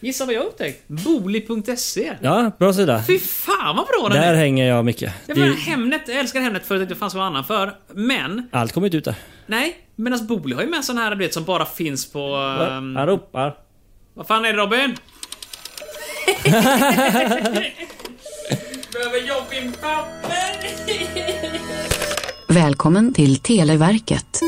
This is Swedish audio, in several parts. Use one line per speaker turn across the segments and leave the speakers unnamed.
Gissa vad jag har upptäckt? Booli.se.
Ja, bra sida.
Fy fan vad bra den
Där
är!
hänger jag mycket.
Jag
Det
menar
är,
Hemnet, jag älskar Hemnet för att det inte fanns någon annan för. Men,
allt kommer inte ut där.
nej. Medan Booli har ju med sån här du vet, som bara finns på... ehm,
Han ropar.
vad fan är det Robin?
Välkommen till Televerket.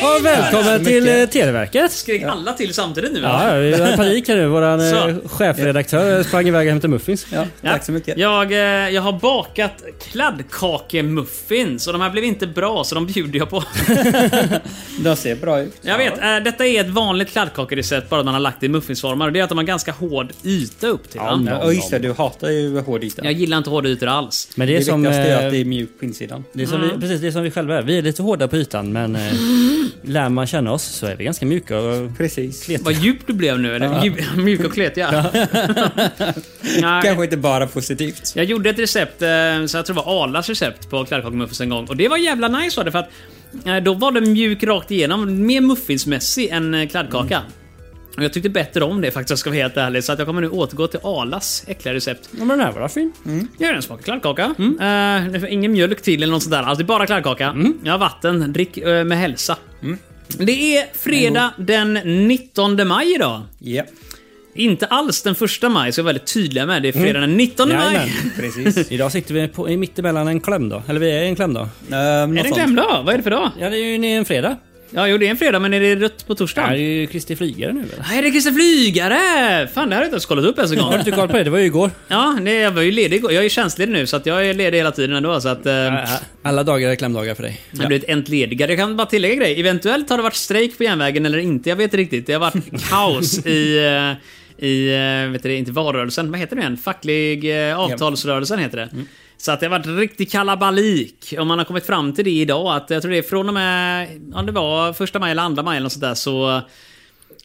Ja, välkommen till eh, Televerket.
Skrek alla till samtidigt nu?
Ja, vi har panik här nu. Våran eh,
Så.
chefredaktör sprang iväg och hämtade muffins.
Ja, tack så mycket.
Jag, eh, jag har bakat kladdkakemuffins och de här blev inte bra så de bjuder jag på.
De ser bra ut.
Jag vet, eh, detta är ett vanligt kladdkakerecept bara att man har lagt det i muffinsformar. Och Det är att de har ganska hård yta upp till den.
Ja, och just det, du hatar ju hård yta.
Jag gillar inte hårda ytor alls.
Men det
det
är som...
viktigaste är
eh,
att det är mjukt på insidan.
Det är som vi, precis, det är som vi själva är. Vi är lite hårda på ytan men eh, lär man känna oss så är vi ganska mjuka. Och,
Precis.
Vad djup du blev nu. eller? Djup- Mjuk och kletig. ja. Nej.
Kanske inte bara positivt.
Jag gjorde ett recept, eh, så jag tror det var Arlas recept på kladdkakemuffins en gång. Och det var jävla nice var det för att eh, då var den mjuk rakt igenom. Mer muffinsmässig än eh, kladdkaka.
Mm.
Och jag tyckte bättre om det faktiskt om jag ska vara helt ärlig. Så att jag kommer nu återgå till Arlas äckliga recept.
ja, men den här var fin.
Jag gör en smak kladdkaka. Eh, det får ingen mjölk till eller något sånt där. Alltså det är bara kladdkaka. Jag har vatten. Drick eh, med hälsa. Det är fredag den 19 maj idag.
Ja,
Inte alls den första maj, så jag är väldigt tydliga med. Det är fredag den 19 maj.
Mm. Jajamän.
precis.
Idag sitter vi på, i mittemellan en klämdag. Eller vi är i en klämdag.
Ehm,
Är
något
det en
sånt.
klämdag? Vad är det för dag?
Ja det är ju en fredag.
Ja, jo det är en fredag, men är det rött på
Det
torsdagen?
är ju Kristi flygare nu eller?
Nej, det är Christer Flygare! Fan, det har jag inte ens kollat upp ens en gång.
Har du inte koll på det? Det var ju igår.
Ja, nej, jag var ju ledig igår. Jag är tjänstledig nu, så att jag är ledig hela tiden ändå. Så att, eh,
Alla dagar är klämdagar för dig.
Jag har blivit entledigad. Jag kan bara tillägga en grej. Eventuellt har det varit strejk på järnvägen eller inte. Jag vet inte riktigt. Det har varit kaos i... eh, I, eh, vet du det, inte valrörelsen. Vad heter det igen? Facklig eh, avtalsrörelsen heter det. Så att det har varit riktig kalabalik. Och man har kommit fram till det idag. Att jag tror det är från och med... Om det var första maj eller andra maj eller något sånt där så...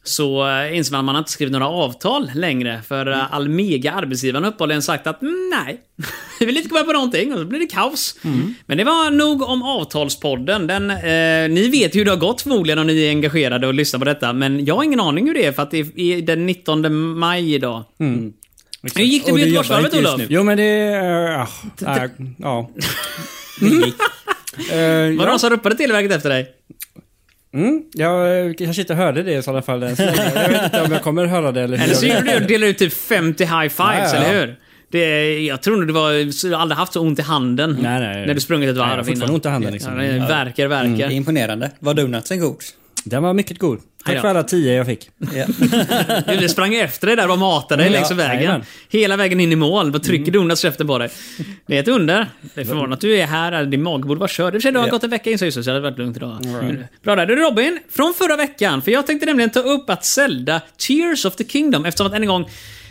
Så eh, inser man att man har inte skrivit några avtal längre. För mm. Almega, arbetsgivaren, har uppehållligen sagt att "Mm, nej, vi vill inte gå med på någonting. Och så blir det kaos.
Mm.
Men det var nog om Avtalspodden. Den, eh, ni vet ju hur det har gått förmodligen om ni är engagerade och lyssnar på detta. Men jag har ingen aning hur det är för att det är den 19 maj idag. Hur gick det
Mm. Och
med
du jobbar
Göteborgsvarvet
inte just
Olof?
nu.
Jo men det... är- ah, ah, ja. Mm. Eh,
Var det
ja.
någon som ropade Televerket efter dig?
Mm, jag eh, kanske inte hörde det i sådana fall. än så länge. Jag vet inte om jag kommer höra det eller hur.
Eller så
jag-
gjorde du och delade ut typ 50 high fives,
Ja, ja, ja.
eller hur? Det, jag tror nog du var, så du har aldrig haft så ont i handen
Nej, nej.
när du sprungit ett
Nej, jag har
varv
fortfarande ont i handen, liksom.
Ja, det verkar, verkar.
Det är Mm, imponerande. Var donutsen god?
Den var mycket god.
Aj då.
Tack för alla tio jag fick.
Ja.
Du vi sprang efter dig där och matade dig
Ja,
längs vägen.
jajamän. Mm.
Hela vägen in i mål. Bara trycker donuts i käften på dig. Det är ett under. Det är förvånande att du är här. eller Din mage borde vara körd. I och för sig, du har
Ja.
gått en vecka in så just det, så det hade varit lugnt idag. Bra där. Du Robin, från förra veckan. För jag tänkte nämligen ta upp att Zelda Tears of the Kingdom eftersom att än en gång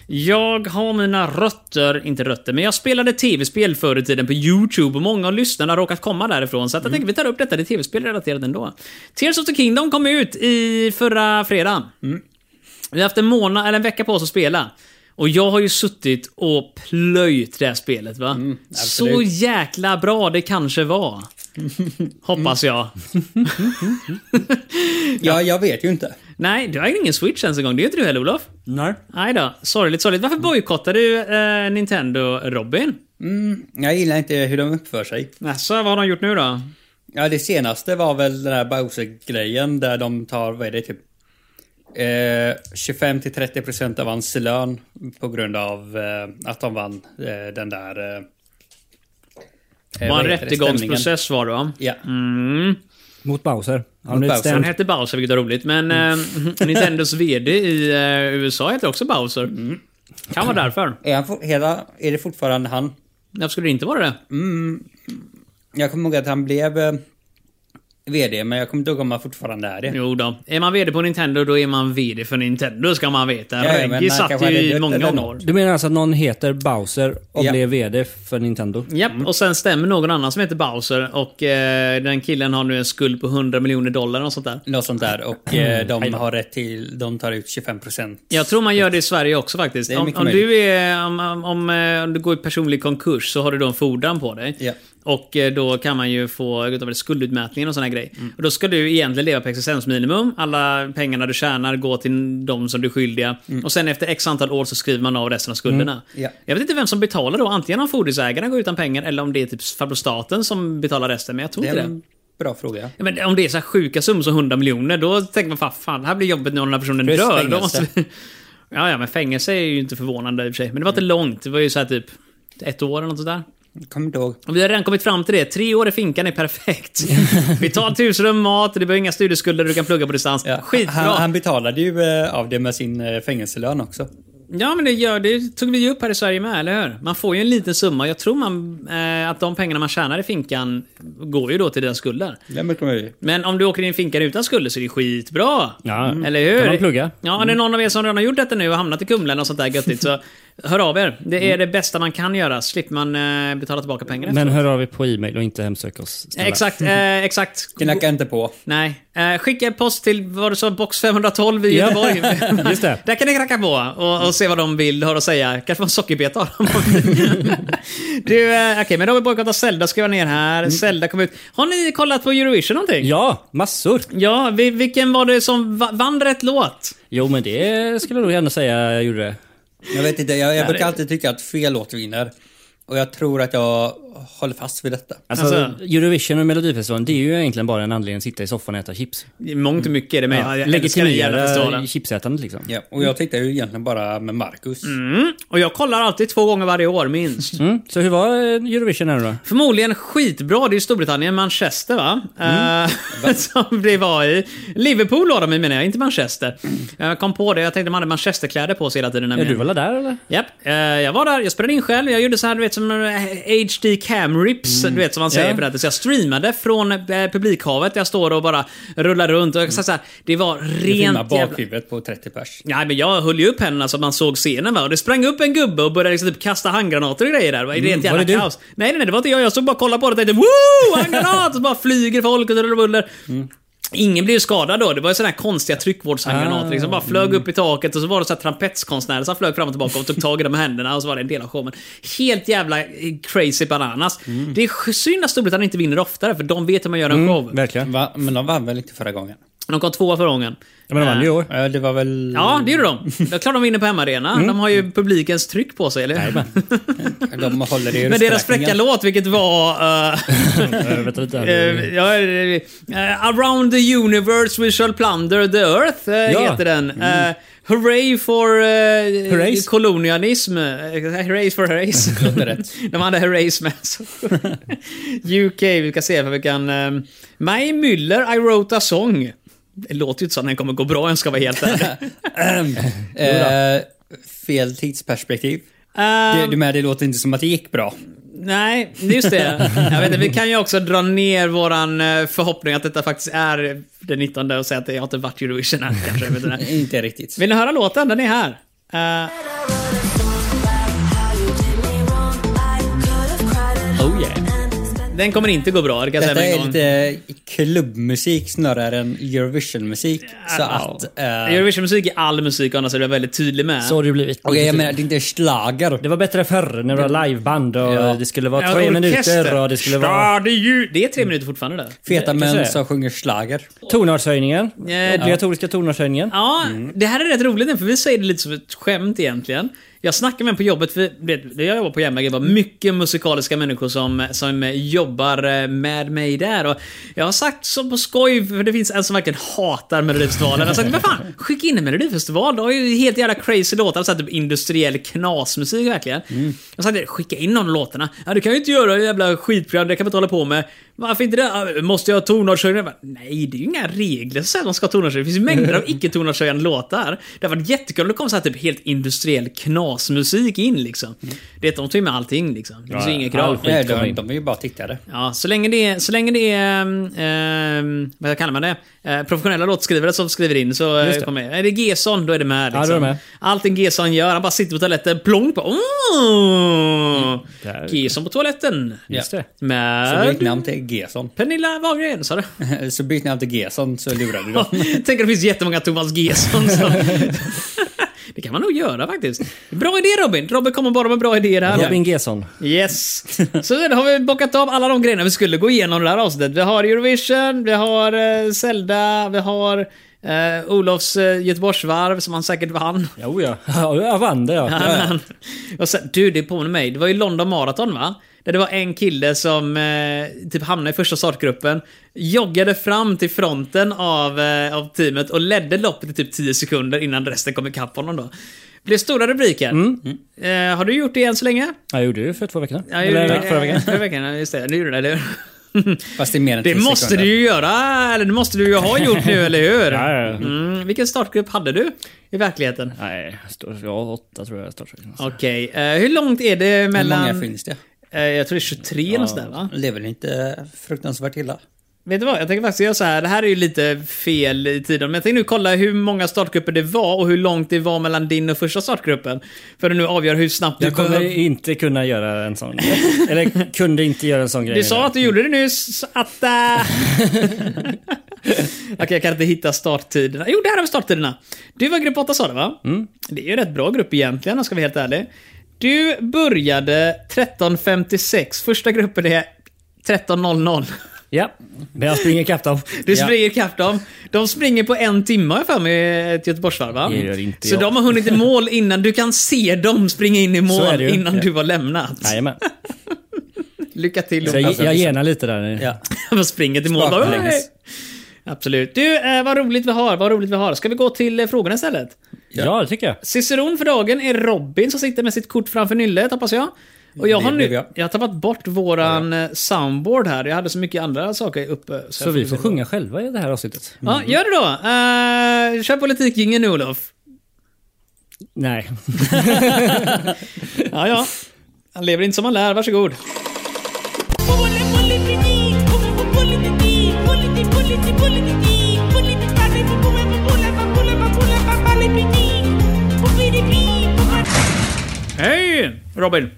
jag har mina rötter, inte rötter, men jag spelade tv-spel förr i tiden på YouTube och många av lyssnarna har råkat komma därifrån. Så att jag
Mm.
tänker vi tar upp detta, det är tv-spel relaterat ändå. Tears of the Kingdom kom ut i förra fredagen. Vi har haft en månad, eller en vecka på oss att spela. Och jag har ju suttit och plöjt det här spelet va? så
Mm, absolut.
jäkla bra det kanske var. Hoppas jag.
ja, jag vet ju inte.
Nej, du har ju ingen switch ens en gång. Det är ju inte du heller Olof.
Nej.
Nej då. Sorgligt, sorgligt. Varför bojkottar du eh, Nintendo, Robin?
Mm, Jag gillar inte hur de uppför sig.
Alltså, vad har de gjort nu
Eh,
då?
Ja, det senaste var väl den här Bowser-grejen där de tar, vad är det, typ eh, 25-30% av hans lön på grund av eh, att de vann eh, den där... Eh,
Det
eh,
var
vad
en
heter det, stämningen.
rättegångsprocess var det va?
Ja.
Mm.
Mot Bowser. Han
Mot
blev
Bowser.
Han
stämd.
hette Bowser, vilket var roligt. Men
Mm.
eh, Nintendos VD i eh, USA heter också Bowser.
Mm.
Kan vara därför.
Är, han for, hela, är det fortfarande han? Mm.
Varför skulle det inte vara det?
Jag kommer ihåg att han blev... eh, VD, men jag kommer inte ihåg om han fortfarande är det.
Jo då. Är man VD på Nintendo, då är man VD för Nintendo, ska man veta.
Ja, men
Reggie
han
satt
kanske
ju
hade
i
dött
många
eller något.
år.
Du menar alltså att någon heter Bowser och
Ja.
blev VD för Nintendo?
Japp,
Mm.
och sen stämmer någon annan som heter Bowser och eh, den killen har nu en skuld på 100 miljoner dollar och sånt där.
Något sånt där. Och
Mm.
eh, de har rätt till, de tar ut 25 procent.
Jag tror man gör det i Sverige också faktiskt.
Det är
Om,
mycket
om, du är, om, om, om, eh, om du går i personlig konkurs så har du då en fordran på dig.
Ja.
Och eh, då kan man ju få utav det, skuldutmätningen och såna här grejer.
Mm.
Och då ska du egentligen leva på existensminimum. Alla pengarna du tjänar går till de som du är skyldiga. Och sen efter x antal år så skriver man av resten av skulderna.
Mm. Ja.
Jag vet inte vem som betalar då. Antingen om fordringsägarna går utan pengar eller om det är typ farbror staten som betalar resten. Men jag tror
Det
inte
är
det.
en bra fråga.
Ja, men om det är så här sjuka summor som 100 miljoner, då tänker man fan, fan det här blir jobbigt när den här personen
Plus
dör. Då
fängelse.
måste vi... ja, ja, men fängelse är ju inte förvånande i och för sig. Men det var inte
Mm.
långt. Det var ju så här typ ett år eller något sådär.
Kommer inte ihåg.
Och vi har redan kommit fram till det. Tre år i finkan är perfekt. vi tar ett husrum, mat, det behöver inga studieskulder, du kan plugga på distans.
Ja.
Skitbra!
Han, han betalade ju eh, av det med sin eh, fängelselön också.
Ja, men det, gör, det tog vi ju upp här i Sverige med, eller hur? Man får ju en liten summa. Jag tror man, eh, att de pengarna man tjänar i finkan går ju då till dina skulder.
Ja, men kommer ju.
Men om du åker in i en finka utan skulder så är det skitbra.
Ja. Mm.
Eller hur?
Kan man plugga? Mm.
Ja, om det är någon av er som redan har gjort detta nu och hamnat i Kumlen och sånt där göttigt så hör av er. Det är det bästa man kan göra. Slipper man eh, betala tillbaka pengar
Mm. Men
efteråt.
hör av er på e-mail och inte hemsök oss. snälla.
Exakt, eh, exakt.
Knacka inte på.
Nej. Eh, skicka post till, vad du sa, box 512 i
Ja.
Göteborg.
Just det.
Där kan ni knacka på och, och se vad de vill, har att säga. Kanske få en sockerbeta av dem. du, eh, okej, men då har vi bojkottat Zelda, skriva ner här.
Mm.
Zelda kom ut. Har ni kollat på Eurovision någonting?
Ja, massor!
Ja, vi- vilken var det som va- vann rätt låt?
Jo, men det skulle jag nog gärna säga jag gjorde.
Jag vet inte, jag, jag
det-
brukar alltid tycka att fel låt vinner. Och jag tror att jag håller fast vid detta.
Alltså,
Alltså-
Eurovision och Melodifestivalen, det är ju egentligen bara en anledning att sitta i soffan och äta chips.
I mångt och mycket är det med. Ja, jag älskar den jävla
Legitimera
festivalen.
chipsätandet liksom.
Ja, och jag tittar ju egentligen bara med Marcus.
Mm. Och jag kollar alltid två gånger varje år, minst.
Mm. Så hur var eh, Eurovision här nu då?
Förmodligen skitbra. Det är ju Storbritannien, Manchester va? Eh, som det var i. Liverpool har de i menar jag, inte Manchester. Jag kom på det, jag tänkte man hade manchesterkläder på sig hela tiden.
Ja,
nämligen.
du var väl där eller?
Japp, eh, jag var där, jag spelade in själv, jag gjorde så här du vet som eh, HD cam rips, du vet som man säger
Ja.
på nätet. Så jag streamade från eh, publikhavet, jag står och bara rullar runt. Och jag kan säga så här, det var
Du filmar
rent jävla...
bakhuvudet på 30 pers.
Nej, men jag höll ju upp händerna så att man såg scenen va. Och det sprang upp en gubbe och började liksom typ kasta handgranater och grejer där. Det var mm,
var
jävla
det du?
kaos. Nej, nej, nej, det var inte jag. Jag stod bara och kollade på det och tänkte woo! Handgranat! och bara flyger folk och buller och buller.
Mm.
Ingen blev ju skadad då. Det var ju sådana här konstiga tryckvårdshandgranater. Liksom
Ah.
bara flög
Mm.
upp i taket och så var det så här trampetskonstnärer som flög fram och tillbaka och tog tag i dem med händerna och så var det en del av showen. Helt jävla eh, crazy bananas.
Mm.
Det är synd att Storbritannien inte vinner oftare för de vet hur man gör en show.
Verkligen.
Va? Men de vann väl inte förra gången?
De kom tvåa förra gången.
Ja, men de vann ju i år.
Ja, det var väl...
Ja, det gjorde de. Det är klart de vinner på hemmaarena. De har ju publikens tryck på sig, eller hur?
De håller det i
Men deras
rösträkningen.
fräcka låt, vilket var... eh,
Eh, Vänta lite här.
eh, ja, eh, eh, Around the universe we shall plunder the earth, eh,
Ja.
heter den. Eh, hooray for uh,
Hurrays.
kolonialism. Eh, hooray for hurrays. De hade hurrays med. så. UK, vi ska se vad vi kan... Uh, Maj Müller, I wrote a song. Det låter ju inte som att den kommer gå bra om jag ska vara helt ärlig.
Eh, fel tidsperspektiv.
Ehm,
Du, du med, det låter inte som att det gick bra.
Nej, just det. Jag vet inte, vi kan ju också dra ner våran eh, förhoppning att detta faktiskt är den 19 och säga att jag har inte varit Eurovision än. Kanske, jag vet inte.
Inte riktigt.
Vill ni höra låten? Den är här. Eh,
Oh yeah.
den kommer inte gå bra, det kan jag
Detta
säga
är
med en gång.
lite klubbmusik snarare än Eurovision-musik. Så
Ah,
att... eh,
Eurovision-musik är all musik, annars är jag väldigt tydlig med.
Så har det ju blivit.
Okej, jag menar, det är inte schlager.
Det var bättre förr när det var liveband och
Ja.
det skulle vara
Ja,
tre
orkester.
minuter och det skulle vara...
Ja, det, är ju... det är tre minuter fortfarande där.
Feta
det kanske
män
är.
som sjunger schlager.
Tonartshöjningen.
Ja.
Obligatoriska tonartshöjningen.
Ja, det här är rätt roligt för vi säger det lite som ett skämt egentligen. Jag snackar med en på jobbet, för det, det jag jobbar på järnvägen var mycket musikaliska människor som, som jobbar eh, med mig där. Och jag har sagt så på skoj, för det finns en som verkligen hatar Melodifestivalen. Jag har sagt, vad fan, skicka in en Melodifestival. Du har ju helt jävla crazy låtar, så här typ industriell knasmusik verkligen. Jag sa det, skicka in någon av låtarna. Ja, du kan ju inte göra jävla skitprogram, det kan man inte hålla på med. Varför inte det? Ja, Måste jag ha tonartshöjning? Jag bara, Nej, det är ju inga regler som säger att de ska ha tonartshöjning. Det finns ju mängder av icke tonartshöjande låtar. Det hade varit jättekul om det kom så här typ helt industriell basmusik in liksom. Det är att de tar ju med allting liksom. Det finns ju
Mm. Ja,
inga krav.
all
Nej,
kommer
de,
in.
de är ju bara tittare.
Ja, så länge det är, så länge det är ehm, vad kallar man det? Eh, professionella låtskrivare som skriver in så eh,
Just det.
kommer det. Är det Gesson, då är det med.
Ja,
Liksom.
då är det med.
Allting Gesson gör, han bara sitter på toaletten, plong på. Oh!
Där.
Gesson på toaletten.
Just det.
Så byt
Med
namn till Gesson.
Pernilla Wahlgren, sa du?
Så byt namn till Gesson så lurar du dem.
Tänk att det finns jättemånga Thomas Gesson som... Det kan man nog göra faktiskt. Bra idé Robin! Robin kommer bara med bra idéer här.
Robin Gesson.
Yes! Så där har vi bockat av alla de grejerna vi skulle gå igenom det här avsnittet. Vi har Eurovision, vi har eh, Zelda, vi har eh, Olofs eh, Göteborgsvarv som han säkert vann.
Jo, ja. Jag vann det, ja.
Han- och sen, du, det påminner mig. Det var ju London Marathon va? Där det var en kille som eh, typ hamnade i första startgruppen, joggade fram till fronten av, eh, av teamet och ledde loppet i typ 10 sekunder innan resten kom ikapp honom då. Blev stora rubriker.
Mm.
Eh, har du gjort det än så länge?
Jag gjorde ju för två veckor sedan.
Ja,
Eller
gjorde det.
förra veckan.
Förra veckan, ja, just det. Du gjorde det, eller hur?
Fast det är mer än
Det
10
måste
sekunder.
du ju göra, eller det måste du ju ha gjort nu, eller hur?
Ja, ja, ja.
Mm, vilken startgrupp hade du i verkligheten?
Nej, står- ja, åtta tror jag startsträckan.
Okej, eh, hur långt är det
Hur
mellan...
många finns det?
Eh, jag tror det är 23 eller något sånt där va?
Det är väl inte fruktansvärt illa?
Vet du vad, jag tänker faktiskt göra så här. Det här är ju lite fel i tiden, men jag tänkte nu kolla hur många startgrupper det var och hur långt det var mellan din och första startgruppen. För att nu avgör hur snabbt du
Jag kommer
kommer...
inte kunna göra en sån Eller kunde inte göra en sån grej.
Du sa att du gjorde det nyss, så att... eh, Okej, jag kan inte hitta starttiderna. Jo, där har vi starttiderna. Du var grupp 8 sa du va? Det är ju en rätt bra grupp egentligen, om jag ska vara helt ärlig. Du började 13.56. Första gruppen är 13.00.
Ja, men jag springer ikapp dem.
Du
Ja.
springer ikapp dem. De springer på en timme har jag för mig, ett Göteborgsvarv va?
Det gör inte
Så
jag.
de har hunnit i mål innan du kan se dem springa in i
är
mål
det ju.
innan
Ja.
du har lämnat.
Jajamän.
Lycka till.
Så jag,
Jonas.
jag genar lite där.
Ja.
Man springer till mål.
Spaken
Bara, "Hej!"
länges.
Absolut. Du, eh, vad roligt vi har. Vad roligt vi har. Ska vi gå till eh, frågorna istället?
Ja, det tycker jag.
Ciceron för dagen är Robin som sitter med sitt kort framför nyllet, hoppas jag. Och jag
Det
har nu
blev jag.
jag har tappat bort våran eh, soundboard här. Jag hade så mycket andra saker uppe.
Så
jag
vi får Mm. sjunga själva i det här avsnittet.
Ja, gör det då. Eh, kör politikgingen nu, Olof.
Nej.
Ja, ja. Han lever inte som han lär. Varsågod. Hej, Robin.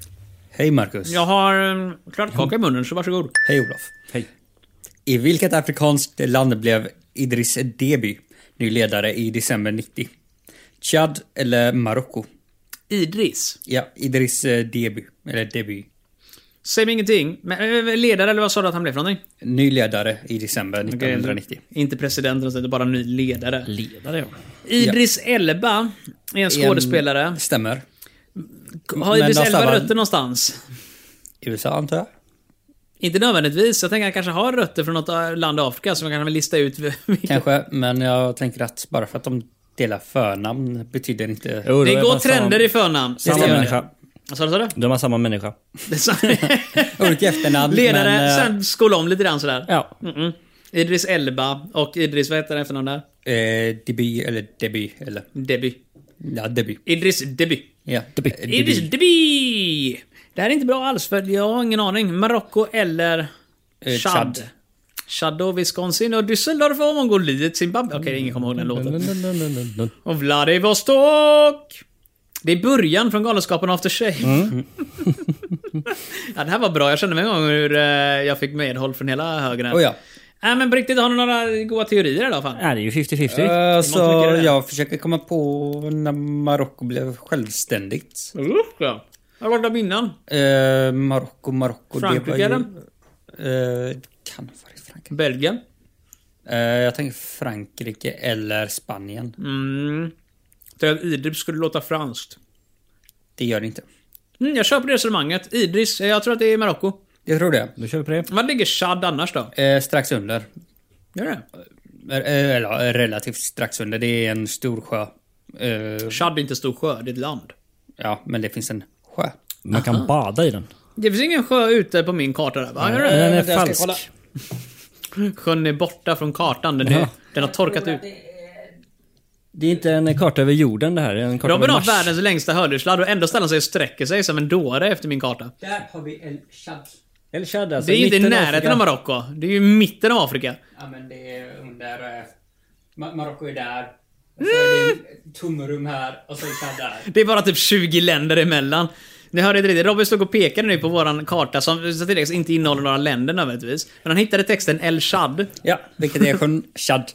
Hej Marcus.
Jag har en kladdkaka i munnen, så varsågod.
Hej Olof.
Hej.
I vilket afrikanskt land blev Idris Deby ny ledare i december 90? Chad eller Marocko?
Idris.
Ja, Idris eh, Deby. Eller Deby.
Säg mig ingenting. Men, eh, ledare, eller vad sa du att han blev för någonting?
Ny ledare i december 1990.
Inte president, eller något sånt, bara ny ledare.
Ledare, ja.
Idris Elba är en skådespelare.
En- Stämmer.
Har
men
Idris
då
Elba
stavar-
rötter någonstans?
USA antar jag?
Inte nödvändigtvis. Jag tänker att han kanske har rötter från något eh, land i Afrika, så man kan väl lista ut vilka...
Kanske, men jag tänker att bara för att de delar förnamn betyder inte...
Jo,
Det
de är
går
bara samma-
trender i förnamn. Det
Samma
stämmer.
människa.
Vad sa du? Sa du?
De har samma människa.
Det sa-
Olika efternamn,
Ledare,
men, eh,
sen skola om lite grann sådär.
Ja.
Mm-mm. Idris Elba och Idris, vad heter han efternamn där?
Eh, Deby eller Deby eller...
Deby.
Ja, Deby.
Idris Deby.
Ja.
Deby.
Eh,
Idris Deby! Det här är inte bra alls för jag har ingen aning. Marocko eller
Eh,
Chad.
Chad.
Chad och Wisconsin och Düsseldorf och Mongoliet, Zimbabwe. Okej, ingen kommer ihåg den låten. Och Vladivostok! Det är början från Galenskaparna After Shave.
Mm.
ja, det här var bra. Jag kände mig en gång hur eh, jag fick medhåll från hela högern. här.
Oh, ja.
Nej men på riktigt, har ni några goda teorier i alla fall?
Nej, det är ju 50-50.
Eh,
Det är mångt
så
mycket det där.
jag försöker komma på när Marocko blev självständigt.
Mm,
Usch ja. Har varit där innan.
Eh, Marocko, Marocko...
Frankrike,
det
eller?
var ju, eh, det kan vara i Frankrike.
Belgien.
Eh, jag tänker Frankrike eller Spanien.
Mm. Tänk att Idris skulle låta franskt.
Det gör det inte.
Mm, jag köper det resonemanget. Idris, eh, jag tror att det är Marocko.
Jag tror det.
Då kör vi på det.
Var ligger Chad annars då?
Eh, strax under.
Gör det?
Eh, eh, Eller eh, relativt strax under. Det är en stor sjö. Eh,
Chad är inte stor sjö, det är ett land.
ja, men det finns en sjö.
Man kan bada i den.
Det finns ingen sjö ute på min karta där va? Gör det?
Den är
jag ska kolla.
falsk.
Sjön är borta från kartan. Den, är,
Ja.
den har torkat ut.
Det är inte en karta över jorden det här. Det är en karta
Robin
över
har
Mars.
världens längsta hörlurssladd och ändå ställer han sig och sträcker sig som en dåre efter min karta.
Där har vi El Shad.
El Shad alltså.
Det är ju inte i
mitten av
närheten
Afrika.
av Marocko. Det är ju mitten av Afrika.
Ja men det är under... eh, Ma- Marocko är där. Och så är
Mm.
det ett tomrum här och så är Shad där.
Det är bara typ 20 länder emellan. Ni hörde inte riktigt. Robin stod och pekade nu på våran karta som så tilläggs inte innehåller några länder nödvändigtvis. Men han hittade texten El Shad.
Ja, vilket är sjön Chad.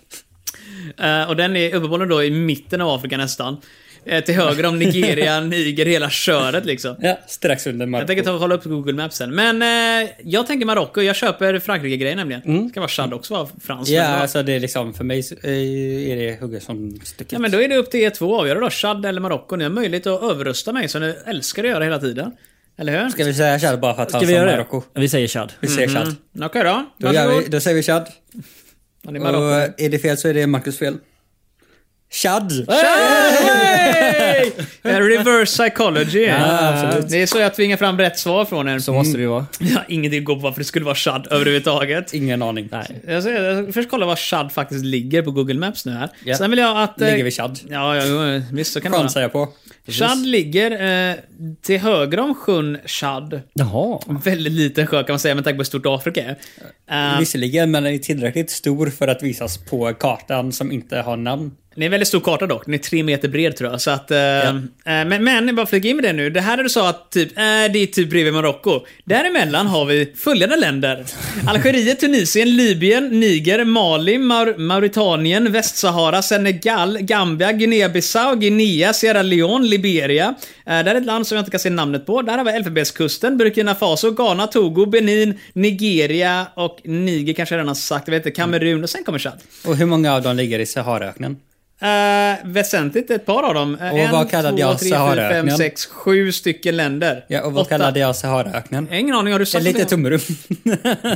Eh, och den är uppenbarligen då i mitten av Afrika nästan. Eh, till höger om Nigeria, Niger, hela köret liksom.
Ja, strax under
Jag tänker
Marocko.
ta och kolla upp Google Maps sen. Men eh, jag tänker Marocko. Jag köper Frankrike-grejen nämligen.
Mm.
Ska vara Chad också vara franskt.
Ja,
men-
alltså det är liksom för mig så, eh, är det hugget som stucket.
Ja, men då är det upp till er två att avgöra då. Chad eller Marocko. Ni har möjlighet att överrösta mig som ni älskar att göra hela tiden. Eller hur?
Ska vi säga Chad bara för att
Ska
han
vi
sa
göra det?
Marocko?
Vi säger Chad.
Vi säger Chad.
Mm. Okej då.
Då, gör
Varsågod.
vi, då säger vi Chad.
Ja, det är Marocko.
Och eh, är det fel så är det Marcus fel. Chad!
Hey! Eh, Reverse psychology. det är så jag tvingar fram rätt svar från er. Mm.
Så måste det ju vara.
Jag har ingenting att gå på varför det skulle vara Chad överhuvudtaget.
Ingen aning.
Jag ska, jag ska först kolla var Chad faktiskt ligger på Google Maps nu här.
Ja.
Sen vill jag att... eh,
Ligger vi Chad?
Ja, ja, visst så kan det
Chansar
vara.
jag på.
Chad ligger eh, till höger om sjön Chad.
Jaha.
Väldigt liten sjö kan man säga med tanke på hur stort Afrika är. Eh,
Visserligen, men den är tillräckligt stor för att visas på kartan som inte har namn.
Det är en väldigt stor karta dock. Den är tre meter bred tror jag. Så att, eh, eh, men, men, bara flika in med det nu. Det här är du sa att typ, eh, det är typ bredvid Marocko. Däremellan har vi följande länder. Algeriet, Tunisien, Libyen, Niger, Mali, Maur Mauritanien, Västsahara, Senegal, Gambia, Guinea-Bissau, Guinea, Sierra Leone, Liberia. Eh, där är ett land som jag inte kan se namnet på. Där har vi Elfenbenskusten, Burkina Faso, Ghana, Togo, Benin, Nigeria och Niger kanske jag redan har sagt. Jag vet inte, Kamerun och sen kommer Chad.
Och hur många av dem ligger i Saharaöknen?
Eh, väsentligt ett par av dem. Eh,
Och vad kallade jag
tre, fyra, fem,
Saharaöknen?
sex, sju stycken länder.
Ja, och vad
Åtta.
kallade jag Saharaöknen?
Ingen aning, har du sagt
Ett litet
det?
tomrum.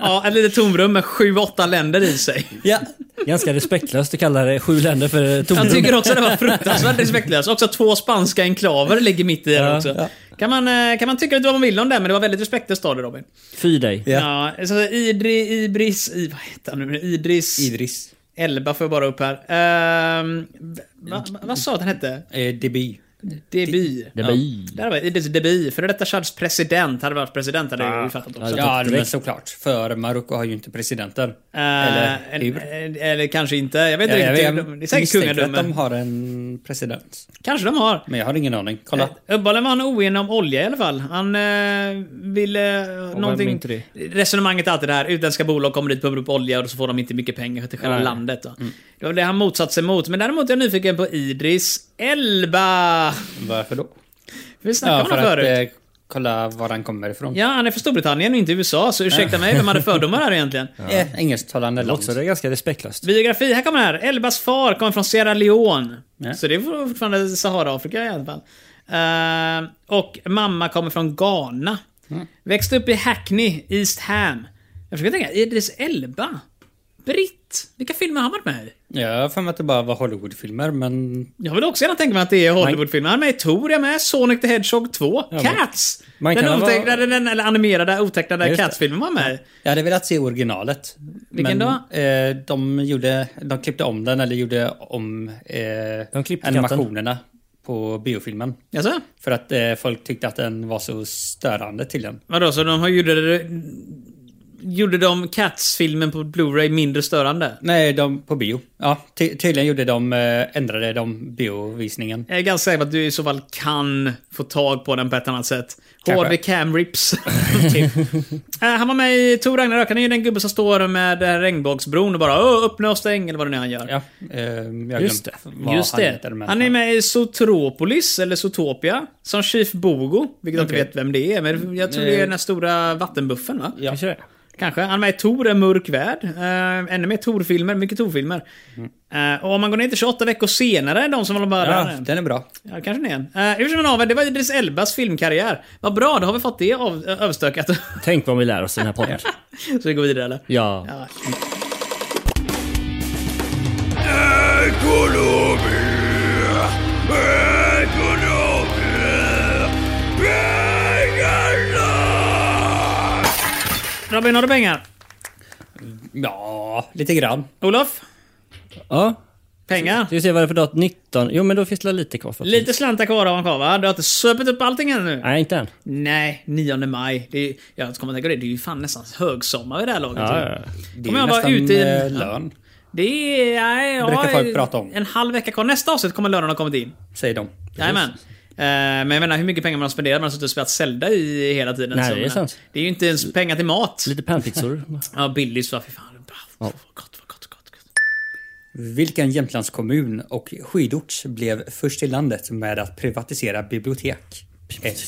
Ja, ett litet tomrum med sju, åtta länder i sig.
ja.
Ganska respektlöst att kalla det sju länder för
Jag
tomrum.
tycker också det var fruktansvärt respektlöst. Också två spanska enklaver ligger mitt i det också. Kan, man, eh, kan man tycka lite vad man vill om det, men det var väldigt respektlöst av det Robin.
Fy dig.
Ja. så Idri, Ibris, I, vad heter han nu? Idris,
Idris.
Elba får jag bara upp här. Ehm, va, va, vad sa du att han hette?
Eh, Deby.
Deby.
Deby.
Ja. Där var Idris Deby, före detta Chads president. Hade varit president hade jag ju fattat också.
Ja,
Ja, men såklart. För Marocko har ju inte presidenter.
Eh,
Eller
en-
hur?
en- eller kanske inte. Jag vet
Ja,
inte
jag
riktigt.
vet-
det är säkert
misstänker att de
kungadömen.
har en president.
Kanske de har.
Men jag har ingen aning. Kolla.
Uppenbarligen var han oenig om olja i alla fall. Han eh, ville... Eh, någonting...
inte det?
Resonemanget är alltid det här. Utländska bolag kommer dit och pumpar upp olja och så får de inte mycket pengar till själva
Nej.
landet. Då.
Mm.
Det var det han motsatte sig mot. Men däremot är jag nyfiken på Idris Elba.
Varför då?
Vi snackade
Ja,
om
för
honom
att
Eh, förut.
eh, kolla var han kommer ifrån.
Ja, han är från Storbritannien och inte USA, så ursäkta mig, de hade fördomar här egentligen.
Eh, engelsktalande
Det
land.
låter det ganska respektlöst.
Biografi, här kommer det här. Elbas far kommer från Sierra Leone.
Ja.
Så det är fortfarande Sahara-Afrika i alla fall. Eh, och mamma kommer från Ghana. Växte upp i Hackney, East Ham. Jag försöker tänka, Idris Elba? Britt? Vilka filmer har han varit med i?
Jag har för mig att det bara var Hollywoodfilmer, men
Jag vill också gärna tänka mig att det är Hollywoodfilmer. Han är med i Tor, jag är med. Sonic the Hedgehog 2. Cats!
man
Den
kan ha-
otecknade, den, eller animerade, otecknade
Just det.
Cats-filmen var med i.
jag hade velat se originalet.
Vilken
men, Eh, de, gjorde, de klippte om den, eller gjorde om eh,
De klippte
animationerna på biofilmen.
Jaså?
För att eh, folk tyckte att den var så störande till den.
Vadå, så de har gjorde, gjorde de Cats-filmen på Blu-ray mindre störande?
Nej, de på bio. Ja, ty- tydligen gjorde de, eh, ändrade de biovisningen.
Jag är ganska säker på att du i så fall kan få tag på den på ett annat sätt. Hård
Kanske.
vid camrips. typ. Eh, han var med i Tor Ragnarök. Han är ju den gubben som står med eh, regnbågsbron och bara "Åh, öppna och stäng eller vad det nu är han gör.
Ja, eh, jag
Just
glömt
det.
vad
Just
han
det.
heter, men
Han är med i Zootropolis, eller Zootopia, som Chief Bogo. Vilket jag
Okej.
inte vet vem det är, men jag tror det är den här stora vattenbuffen va?
Ja.
Kanske det.
Kanske. Han är med i Tor, En mörk värld. Eh, ännu mer Tor-filmer, mycket Tor-filmer. Eh, och om man går ner till 28 veckor senare, de som håller bara...
Ja, den är bra.
Ja, kanske den är en. Eh, Hur som helst, det var Idris Elbas filmkarriär. Vad bra, då har vi fått det av, ö- överstökat.
Tänk vad vi lär oss i den här podden.
Så vi går vidare eller?
Ja.
Ja. Robin, har du pengar?
Ja, lite grann.
Olof?
ja.
Pengar.
Ska vi se vad det är för datum? 19? Jo men då finns det lite kvar. För
Lite slantar kvar har man kvar va? Du har inte supit upp allting ännu?
Nej, inte än.
Nej, 9 maj. Det är, jag kommer att tänka på det, det är ju fan nästan högsommar i det här laget.
Ja,
ju.
ja, ja.
Det är
Kommer
ju
jag vara
nästan
ute i en-
eh, lön,
Det är... Nej, ja,
Brukar folk prata om.
En halv vecka kvar. Nästa avsnitt kommer lönen ha kommit in.
säger de.
Jajamän. Eh, Men jag menar hur mycket pengar man har spenderat. Man har suttit och spelat Zelda i hela tiden.
Nej,
Så
det är
jag menar,
sant.
Det är ju inte ens pengar till mat.
Lite panpizzor.
Ja, Billys va? Fy fan. Bra. Vad gott, vad gott, gott, gott.
Vilken Jämtlandskommun och skidort blev först i landet med att privatisera bibliotek? Ett.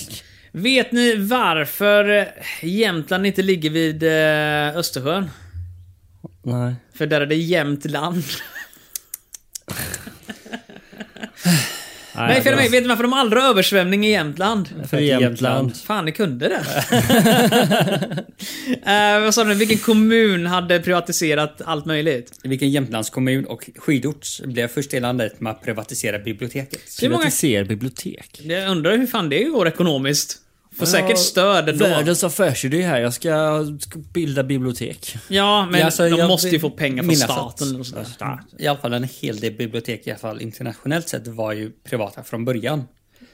Vet ni varför Jämtland inte ligger vid eh, Östersjön?
Nej.
För där är det jämnt land. Nej, fel mig. Vet ni varför de aldrig har översvämning i Jämtland?
För Jämtland.
Fan, ni kunde det. Eh, vad sa du? Vilken kommun hade privatiserat allt möjligt?
Vilken Jämtlandskommun och skidort blev först i landet med att privatisera biblioteket?
Hur många-
Privatiser bibliotek.
Jag undrar hur fan det går ekonomiskt. Får säkert stöd då.
Världens affärsidé här. Jag ska ska bilda bibliotek.
Ja, men
Ja, alltså,
de
jag
måste ju
vill
få pengar från
minnas
staten.
att-
eller sådär.
I alla fall en hel del bibliotek, i alla fall internationellt sett, var ju privata från början.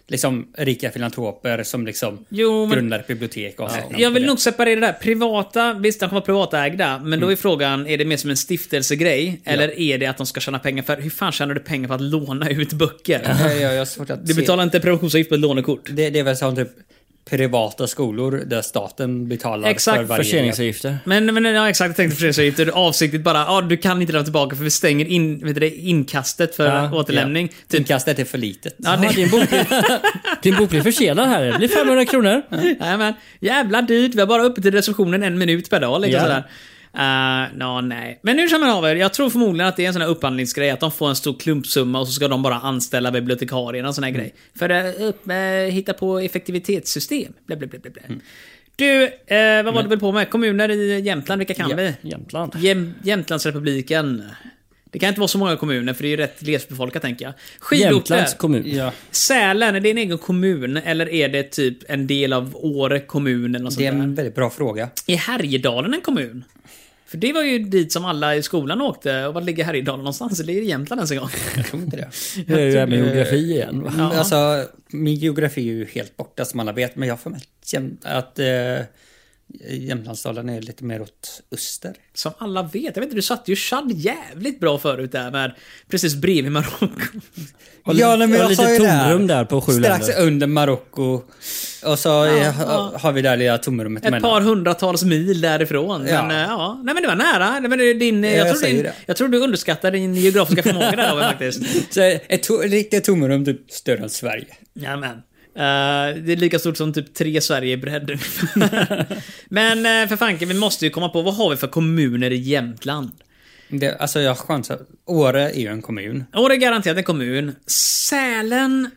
Liksom rika filantroper som liksom
Jo, men-
grundar bibliotek och ja,
Eh, Jag vill nog separera det där. Privata, visst de kommer vara privatägda, men
Mm.
då är frågan, är det mer som en stiftelsegrej? Eller är det att de ska tjäna pengar för... Hur fan tjänar du pengar på att låna ut böcker?
Jag, jag, jag har svårt att
Du
se.
betalar inte provisionsavgift på ett lånekort.
Det, det är väl som typ privata skolor där staten betalar
Exakt,
för varje elev.
Förseningsavgifter.
Men, men ja, exakt, jag tänkte förseningsavgifter. Avsiktligt bara, ja du kan inte lämna tillbaka för vi stänger in, vet du, det, inkastet för
Ja,
återlämning. Typ.
Inkastet är för litet.
Ja,
Jaha,
det,
din bok, din bok blir försenad här. Det blir 500 kronor.
nej, men, jävla dyrt, vi har bara uppe till receptionen en minut per dag. Liksom,
Ja.
sådär. Uh, nej. Men nu som av er, jag tror förmodligen att det är en sån här upphandlingsgrej, att de får en stor klumpsumma och så ska de bara anställa bibliotekarierna och sån här
Mm.
grej. För att upp, med- hitta på effektivitetssystem. Bla, bla, bla, bla, bla.
Mm.
Du, eh, vad var du väl på med? Kommuner i Jämtland, vilka kan
Ja.
vi?
Jämtland.
Jäm Jämtlandsrepubliken. Det kan inte vara så många kommuner för det är ju rätt glesbefolkat tänker jag. Skidorter.
Jämtlands kommun.
Ja,
Sälen, är det en egen kommun eller är det typ en del av Åre kommun eller något
det är
sånt där?
en väldigt bra fråga.
Är Härjedalen en kommun? För det var ju dit som alla i skolan åkte. Och var ligger Härjedalen någonstans? Det är i Jämtland ens en gång.
Jag tror inte det.
Det är ju det här med
Eh,
geografi igen. va?
Ja.
Alltså, min geografi är ju helt borta som alla vet, men jag får med att Jäm- att eh, Jämtlandsdalen är lite mer åt öster.
Som alla vet. Jag vet inte, du satte ju Chad jävligt bra förut där med precis bredvid Marocko.
Och lite- och lite tomrum där på sju
Strax
länder.
under Marocko. Och så eh, ha- har vi det här lilla tomrummet
Ett par hundratals mil därifrån.
Ja.
Men, eh, ja. Nej, men det var nära. Nej, men det- din, eh,
Ja,
jag,
jag
tror
säger
din,
det.
jag tror du underskattar din geografiska förmåga där Robin, faktiskt.
Så ett to- riktigt tomrum typ större än Sverige.
Jajamän. Eh, det är lika stort som typ tre Sverige i bredd ungefär. Men eh, för fanken, vi måste ju komma på vad har vi för kommuner i Jämtland?
Det, alltså jag chansar. Åre är ju en kommun.
Åre är garanterat en kommun. Sälen...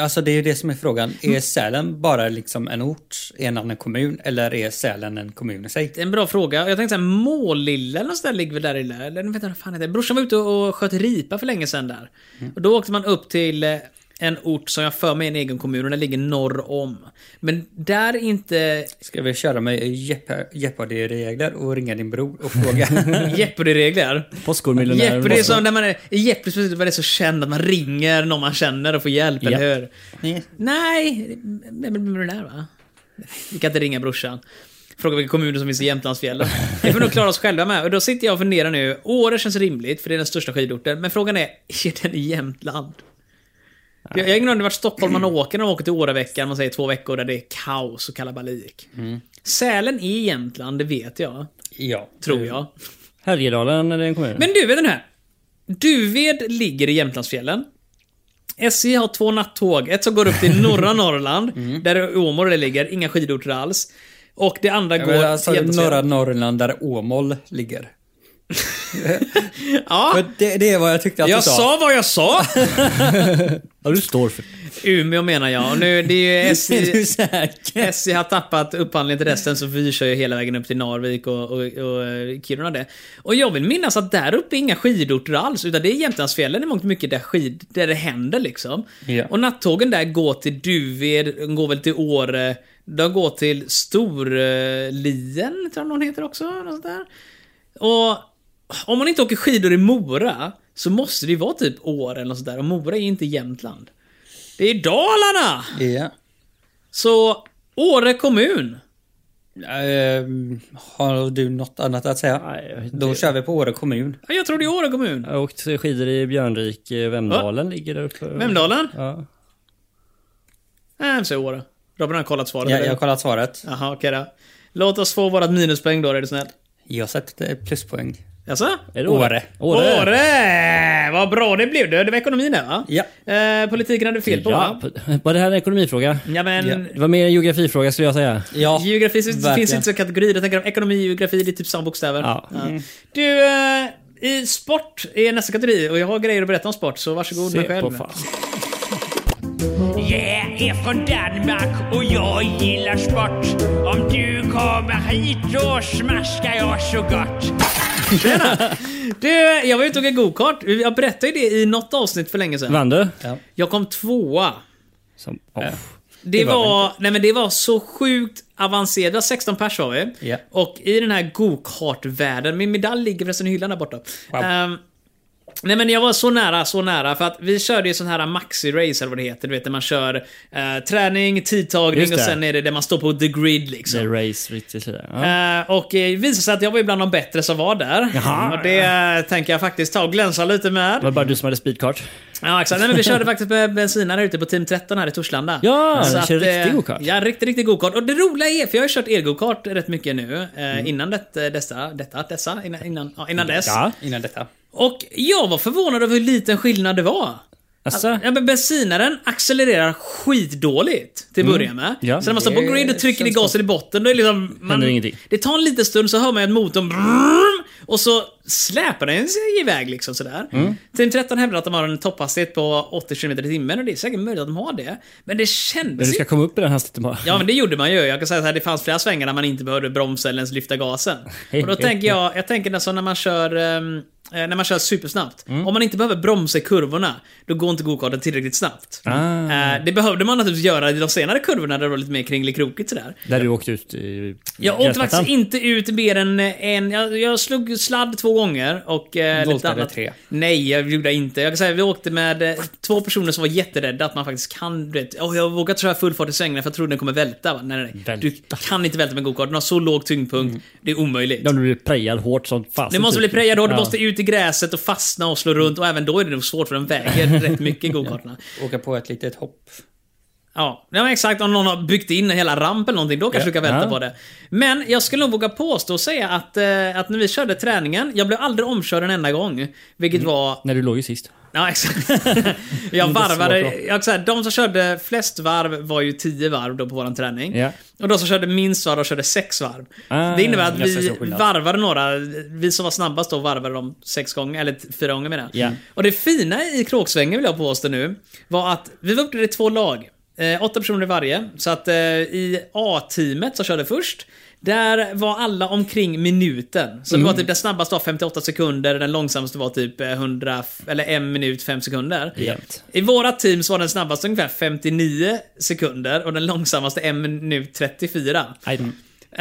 Alltså det är ju det som är frågan. Är Sälen bara liksom en ort i en annan kommun? Eller är Sälen en kommun i sig?
Det är en bra fråga. Jag tänkte såhär, Målilla eller något sånt där ligger väl där i lä- Eller jag vet inte vad fan det är. Brorsan var ute och sköt ripa för länge sedan där. Och då åkte man upp till eh, en ort som jag för mig är en egen kommun och den ligger norr om. Men där är inte
Ska vi köra med Jeopa- Jeopardy-regler och ringa din bror och fråga?
Jeopardy-regler.
Postkodmiljonären.
Jeopardy är som när man är, i Jeopardy speciellt var det så känd att man ringer någon man känner och får hjälp,
Japp.
eller hur?
Nej.
Nej, men men- men det där va? Nej, Vi kan inte ringa brorsan. Fråga vilka kommuner som finns i Jämtlandsfjällen. Det får nog klara oss själva med. Och då sitter jag och funderar nu. Åre känns rimligt, för det är den största skidorten. Men frågan är, är den i Jämtland? Jag, jag har ingen aning vart stockholmarna åker när de åker till Åreveckan, man säger två veckor där det är kaos och kalabalik. Sälen är i Jämtland, det vet jag.
Ja.
Tror jag.
Härjedalen är det en kommun.
Men du, vet den här. Duved ligger i Jämtlandsfjällen. SJ har två nattåg. Ett som går upp till norra Norrland,
Mm.
där är Åmål det ligger, inga skidorter alls. Och det andra
Jag
går
menar, alltså,
till Jämtlandsfjällen.
norra Norrland där Åmål ligger.
Ja,
Men det, det är vad jag tyckte att
Ah! jag
du sa.
sa vad jag sa!
Ja, du står för.
Umeå menar jag. Och nu, det är ju E-
Är du
SJ...
säker?
SJ har tappat upphandlingen till resten så vi kör ju hela vägen upp till Narvik och, och, och eh, Kiruna det. Och jag vill minnas att där uppe är inga skidorter alls utan det är Jämtlandsfjällen i mångt och mycket där, skid, där det händer liksom.
Ja.
Och nattågen där går till Duved, de går väl till Åre, de går till Storlien tror jag någon heter också. Något sånt där. Och om man inte åker skidor i Mora så måste det ju vara typ Åre eller något sånt där. Och Mora är inte Jämtland. Det är Dalarna!
Ja.
Så Åre kommun.
Ehm, har du något annat att säga?
Nej, jag vet
Då
inte.
kör vi på Åre kommun.
Ja, jag tror det är Åre kommun.
Jag har åkt skidor i Björnrik, eh, Vemdalen ligger där uppe.
Vemdalen?
Ja.
Nej, vi säger Åre. Robin har kollat svaret.
Ja,
eller?
jag har kollat svaret.
Jaha, okej då. Låt oss få vårat minuspoäng då, är du snäll.
Jag sätter pluspoäng.
Jaså?
Är det
Åre.
Åre!
Åre.
Vad bra det blev! Det Det var ekonomin där va?
Ja.
Eh, politiken hade du fel på
Ja,
va?
på- var det här en ekonomifråga?
Ja men...
Ja.
Det var mer en geografifråga skulle jag säga.
Ja,
Geografi finns-
verkligen.
finns inte som kategori. Jag tänker om ekonomi och geografi, det är typ samma bokstäver.
Ja.
Du, eh, i sport är nästa kategori och jag har grejer att berätta om sport, så varsågod med
Se på
själv.
fan.
Jag är från Danmark och jag gillar sport. Om du kommer hit då smaskar jag så gott.
Du, jag var ute och åkte gokart. Jag berättade ju det i något avsnitt för länge sedan.
Vann du?
Jag kom tvåa.
Som, oh.
Det, var, nej men det var så sjukt avancerat. Det var 16 pers var vi.
Ja.
Och i den här gokartvärlden, min medalj ligger förresten i hyllan där borta.
Wow.
Ehm, Nej men jag var så nära, så nära. För att vi körde ju sån här maxi-race eller vad det heter. Du vet där man kör eh, träning, tidtagning
Just
och
det.
sen är det där man står på the grid liksom.
The race, riktigt sådär. Ja.
Eh, och eh, det visade sig att jag var ju bland de bättre som var där.
Jaha.
och det eh, tänker jag faktiskt ta och glänsa lite med.
Det var bara du som hade speedcart.
Ja, exakt. Nej, men vi körde faktiskt med bensinare ute på Team 13 här i Torslanda.
Ja,
Så
ni kör
att, eh,
riktig go-kart.
Ja, riktigt, riktigt go-kart. Och det roliga är, för jag har ju kört elgokart rätt mycket nu, eh, innan det, dessa, detta, dessa, innan, innan, ja, innan dess.
Ja.
innan detta.
Och jag var förvånad över hur liten skillnad det var.
Asså?
Ja, men bensinaren accelererar skitdåligt till att börja med.
Mm. Ja.
Så när man står på
Det
grid och trycker i
känns
gasen i botten, då är det liksom... Man,
Händer ingenting.
det tar en liten stund så hör man att motorn brrrr, och så släpar den sig iväg liksom sådär.
Mm.
Team 13 hävdar att de har en topphastighet på 80 km i timmen och det är säkert möjligt att de har det. Men det
Men
kändes
du
ju
ska komma upp i den hastigheten bara.
Ja men det gjorde man ju. Jag kan säga så här, det fanns flera svängar där man inte behövde bromsa eller ens lyfta gasen. Och då tänker jag, jag tänker nästan när man kör ehm, eh, när man kör supersnabbt. Om man inte behöver bromsa i kurvorna, då går inte gokarten tillräckligt snabbt.
Ah.
Eh, Det behövde man naturligtvis göra i de senare kurvorna där det var lite mer kringelikrokigt sådär.
Där du åkte ut i
Jag åkte
gräsmattan.
faktiskt inte ut mer än en... Jag, jag slog sladd två gånger och eh, lite
Voltade
annat.
tre.
Nej, jag gjorde inte. Jag kan säga, vi åkte med eh, två personer som var jätterädda att man faktiskt kan... Du vet, "Åh, jag vågar köra full fart i svängarna för jag trodde den kommer välta. Va? Nej, nej, nej.
Välta.
Du kan inte välta med gokart. Den har så låg tyngdpunkt. Det är omöjligt.
Ja, du blev prejad hårt som fasen.
Du måste bli
typ.
prejad hårt, du
Ja.
måste ut i gräset och fastna och slå runt och även då är det nog svårt för den väger rätt mycket gokarterna.
Åka på ett litet hopp.
Ja, ja men exakt. Om någon har byggt in hela rampen eller någonting, då kanske du kan vänta
Ja.
på det. Men jag skulle nog våga påstå och säga att, eh, att när vi körde träningen, jag blev aldrig omkörd en enda gång. Vilket var...
När du låg ju sist.
Ja, exakt. jag
svårt
varvade... Jag, så här, de som körde flest varv var ju 10 varv då på våran träning.
Ja.
Och de som körde minst varv, de körde 6 varv.
Ah,
det innebär att
nästan
vi
så skillnad.
varvade några, vi som var snabbast då varvade dem sex gånger, eller t- fyra gånger menar jag.
Ja.
Och det fina i kråksvängen vill jag påstå nu, var att vi var uppdelade i två lag. Eh, åtta personer i varje. Så att eh, i A-teamet som körde först, där var alla omkring minuten. Så
Mm.
det var typ den snabbaste var 58 sekunder, den långsammaste var typ eh, 100, eller 1 minut 5 sekunder.
Jämt.
I våra team så var den snabbaste ungefär 59 sekunder och den långsammaste 1 minut 34.
Aj då.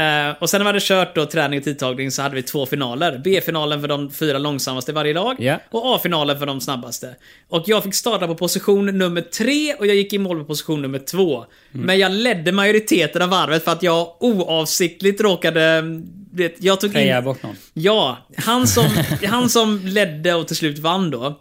Eh, och sen när vi hade kört då träning och tidtagning så hade vi två finaler. B-finalen för de fyra långsammaste i varje lag
Ja.
och A-finalen för de snabbaste. Och jag fick starta på position nummer tre och jag gick i mål på position nummer två. Men jag ledde majoriteten av varvet för att jag oavsiktligt råkade... Vet, jag tog
Preja
in...
bort någon.
Ja, han som, han som ledde och till slut vann då.